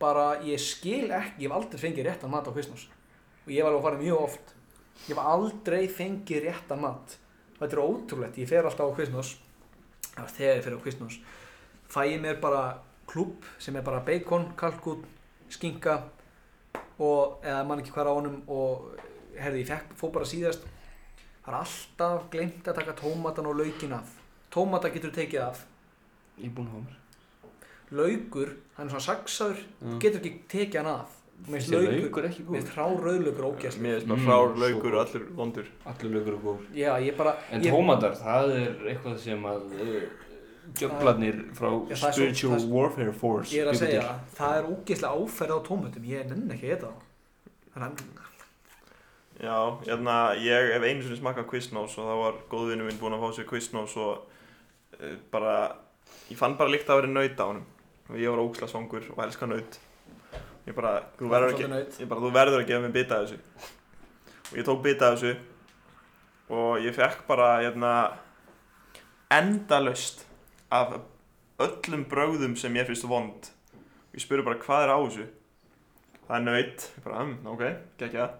Speaker 3: bara, ég skil ekki, ég hef aldrei fengið réttan mat á Kvistnós. Og ég var alveg að fara mjög oft. Ég hef aldrei fengið réttan mat. Þetta er ótrúlegt, ég fer alltaf á Kvistnós. Það var þegar ég fer á Kvistnós. Fæ ég mér bara klúb sem er bara bacon, kalkún, skinka og, eða mann ekki hvað á honum og, herði, ég fekk, fó bara síðast Það er alltaf glemt að taka tómatan og laukin af. Tómata getur tekið af.
Speaker 6: Ég er búinn að hafa mér.
Speaker 3: Laukur, hann er svona saksaður,
Speaker 6: Já.
Speaker 3: getur ekki tekið hann af. Mér finnst
Speaker 6: Þessi
Speaker 3: laukur,
Speaker 6: Mm. laukur er ekki
Speaker 3: mér
Speaker 6: góð.
Speaker 3: finnst rárauðlaukur ógjast.
Speaker 4: Mér er svona
Speaker 6: Mm,
Speaker 4: frár
Speaker 6: svo
Speaker 4: laukur og
Speaker 6: gott.
Speaker 4: allur vondur
Speaker 6: Allir laukur er góð.
Speaker 3: Já, ég bara,
Speaker 6: En
Speaker 3: ég,
Speaker 6: tómatar, það er eitthvað sem að eh, djöflarnir
Speaker 3: Já,
Speaker 6: frá
Speaker 3: það er svo-
Speaker 6: Spiritual
Speaker 3: það er-
Speaker 6: Warfare Force
Speaker 3: ég er að
Speaker 6: bjuggu
Speaker 3: segja,
Speaker 6: til.
Speaker 3: það, það er ógjastlega áferð á tómatum, ég nenni ekki að geta það. Þannig að,
Speaker 4: Já, hérna, ég hef einu sinni smakað Quiznos og það var góðvinu minn búinn að fá sér Quiznos og uh, bara, ég fann bara líkt að vera naut á honum og ég var óksla svangur og elska naut ég bara, þú verður ekki
Speaker 3: Naut.
Speaker 4: ég bara, þú verður að gefa mér bita af þessu og ég tók bita af þessu og ég fekk bara hérna, endalaust af öllum brögðum sem ég finnst vond ég spurði bara hvað er á þessu það er nöyt ég bara, um, ok, gekkja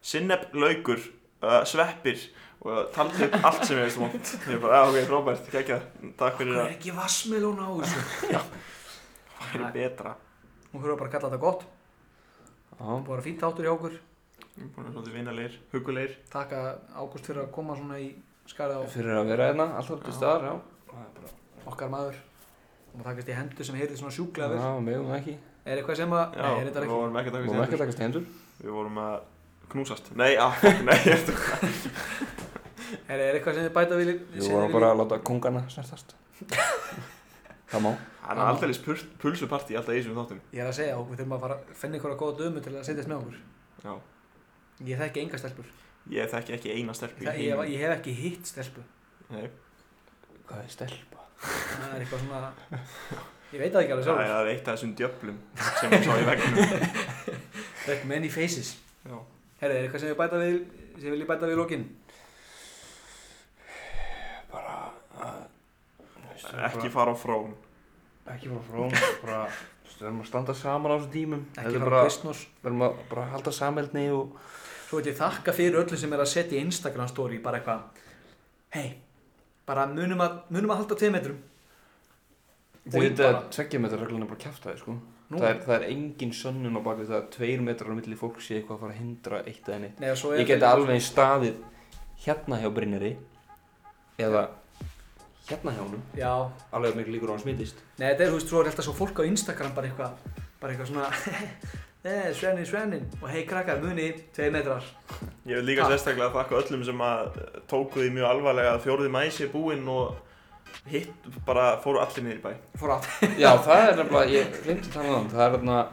Speaker 4: sinnepp, laukur, uh, sveppir og taldi upp allt sem ég finnst vond ég bara, "Ah, ok, Robert, gekkja
Speaker 3: Það
Speaker 4: takk fyrir
Speaker 3: er ekki vassmelón á þessu.
Speaker 4: að fyrir betra
Speaker 3: Hún fyrir bara að kalla þetta gott.
Speaker 6: Já,
Speaker 3: Búið að vera fínt áttur hjá okkur.
Speaker 4: ég er búin að vera svolítið vinalegir, hugulegir
Speaker 3: Takka Ágúst fyrir að koma svona í skarið á
Speaker 6: fyrir að vera hérna, alltaf til
Speaker 3: Já.
Speaker 6: staðar, já. Það er bara,
Speaker 3: okkar maður. Og maður takast í hendur sem heyrði svona sjúklega vel.
Speaker 6: já, meðum ekki.
Speaker 3: Er eitthvað sem að, nei, er
Speaker 4: já,
Speaker 3: þetta
Speaker 4: við
Speaker 3: ekki?
Speaker 4: vorum ekki að taka
Speaker 6: Má
Speaker 4: stendur.
Speaker 6: ekki að takast í hendur.
Speaker 4: Við vorum að knúsast Nei, að, nei, ég er það
Speaker 3: Er, er eitthvað sem þið bæta vilji?
Speaker 6: Við vorum bara að láta kongana snertast. það má.
Speaker 4: Hann er alltaf lýst pulsupartí alltaf í þessum þáttum
Speaker 3: Ég er að segja, og við þurfum að fara að finna einhverja góða dömu til að setjast með okkur.
Speaker 4: Já.
Speaker 3: Ég þekki enga stelpur.
Speaker 4: Ég þekki ekki eina stelpu
Speaker 3: Ég, ég, ég hef ekki hitt stelpu.
Speaker 4: Nei,
Speaker 6: Hvað er stelpa?
Speaker 3: Það er eitthvað svona... Ég veit það ekki alveg
Speaker 4: það
Speaker 3: sjálf.
Speaker 4: er eitt af þessum djöflum sem hún sá í veggnum
Speaker 3: Like many faces.
Speaker 4: Já.
Speaker 3: Herri, er eitthvað sem ég bæta við, sem vil ég bæta við lókin?
Speaker 6: Bara, að, þú veist,
Speaker 4: Ekki fara á frón
Speaker 6: bara- ekki fara frá hún, bara, þú veist, við erum að standa saman á þessum tímum. Þetta
Speaker 3: Ekki
Speaker 6: er
Speaker 3: fara
Speaker 6: bara,
Speaker 3: á Kristnors.
Speaker 6: við erum að bara halda sameldni og,
Speaker 3: Svo veit ég þakka fyrir öllu sem er að setja í Instagram story, bara eitthvað. Hei, bara munum að, munum að halda 2 metrum.
Speaker 6: þú
Speaker 3: Og
Speaker 6: veit að
Speaker 3: bara-
Speaker 6: tveggja metra reglun er bara kjæftæði, sko.
Speaker 3: Nú,
Speaker 6: Það er, það er engin sönnun á bakvið það að tveir metrar á milli fólk sé eitthvað að fara að hindra eitt eða neitt.
Speaker 3: Nei, og svo er
Speaker 6: Ég geti alveg eins staðið hérna hjá Brynjari eða hérna hjá honum,
Speaker 3: Já,
Speaker 6: alveg að miklu líkur á hann smitist.
Speaker 3: Nei, þetta er, þú veist, svo er alltaf svo fólk á Instagram bara eitthvað, bara eitthvað svona, eh, Sveinin, Sveinin, og hei krakkar, muni, tvei metrar.
Speaker 4: Ég vil líka
Speaker 3: Ha.
Speaker 4: sérstaklega þakka öllum sem að eh, tóku því mjög alvarlega að fjórði mæs er búinn og hitt bara fóru allir niður í bæ
Speaker 3: Fór að,
Speaker 6: Já, það er nefnilega, ég reyndi að tala um það, það er þarna,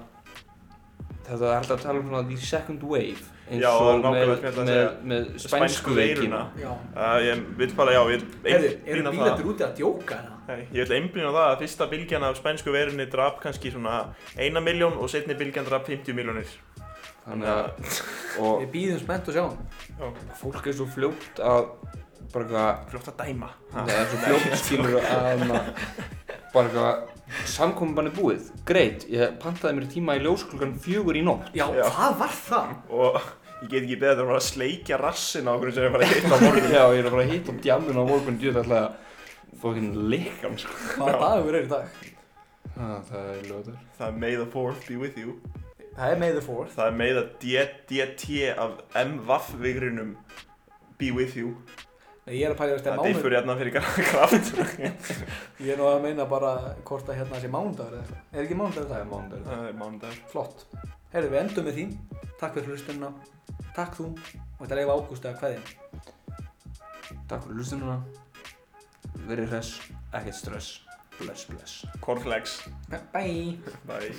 Speaker 6: þetta er alltaf að tala um svona the second wave, eins
Speaker 4: Já,
Speaker 6: og
Speaker 4: nákvæmlega
Speaker 6: með,
Speaker 4: sem ég ætlaði að
Speaker 6: með,
Speaker 4: segja.
Speaker 6: með
Speaker 4: Spænsku
Speaker 6: spænsku
Speaker 4: veiruna
Speaker 6: veikina.
Speaker 3: já.
Speaker 4: uh, Ég vil bara, já, ég vil
Speaker 3: Herðu, eru
Speaker 4: einblína á það.
Speaker 3: bílættur úti að djóka það?
Speaker 4: Nei, Ég ætla einblíðin á það að fyrsta bylgjan af spænsku veirunni draf kannski svona 1 miljón og setni bylgjan draf 50 miljónir.
Speaker 6: Þannig að, og
Speaker 3: Við býðum spennt og sjáum.
Speaker 6: fólk er svo fljótt að, bara eitthvað,
Speaker 4: Fljótt að dæma.
Speaker 6: Nei, það er svo fljótt skilur að maður bara eitthvað samkominbann er búið, greit, ég pantaði mér tíma í ljós klukkan fjögur í nótt
Speaker 3: Já,
Speaker 4: Já.
Speaker 3: hvað var það?
Speaker 4: Og ég get ekki beðið að fara að sleikja rassin á okkur sem ég fara að hitta á morgun.
Speaker 6: Já, ég er að fara að hitta um djamun á morgun djúð ætla að fokkin likkan sko
Speaker 3: Hvaða dagur er í dag?
Speaker 6: ah, Það er ljóður
Speaker 4: Það er May the 4th be with you.
Speaker 3: Það er May the 4th.
Speaker 4: Það er May the D- DT af MVAF vigrunum be with you.
Speaker 3: Nei, ég er að pæla, veist, það er
Speaker 4: Það er
Speaker 3: mánuð.
Speaker 4: fyrir hérna fyrir kraft.
Speaker 3: Ég er nú að meina bara hvort að hérna sé mánudagur eða eitthvað. Er ekki mánudagur
Speaker 6: Það
Speaker 3: það?
Speaker 6: er mándag
Speaker 4: Það er mánudagur.
Speaker 3: Flott. Herðu, við endum með því. Takk fyrir hlustunna. Takk þú. Og þetta er eiginlega ágúst að kveðja.
Speaker 6: Takk fyrir lustununa Verið hress, ekkert stress Bless, bless
Speaker 4: Cornflakes.
Speaker 3: Bye.
Speaker 4: Bye.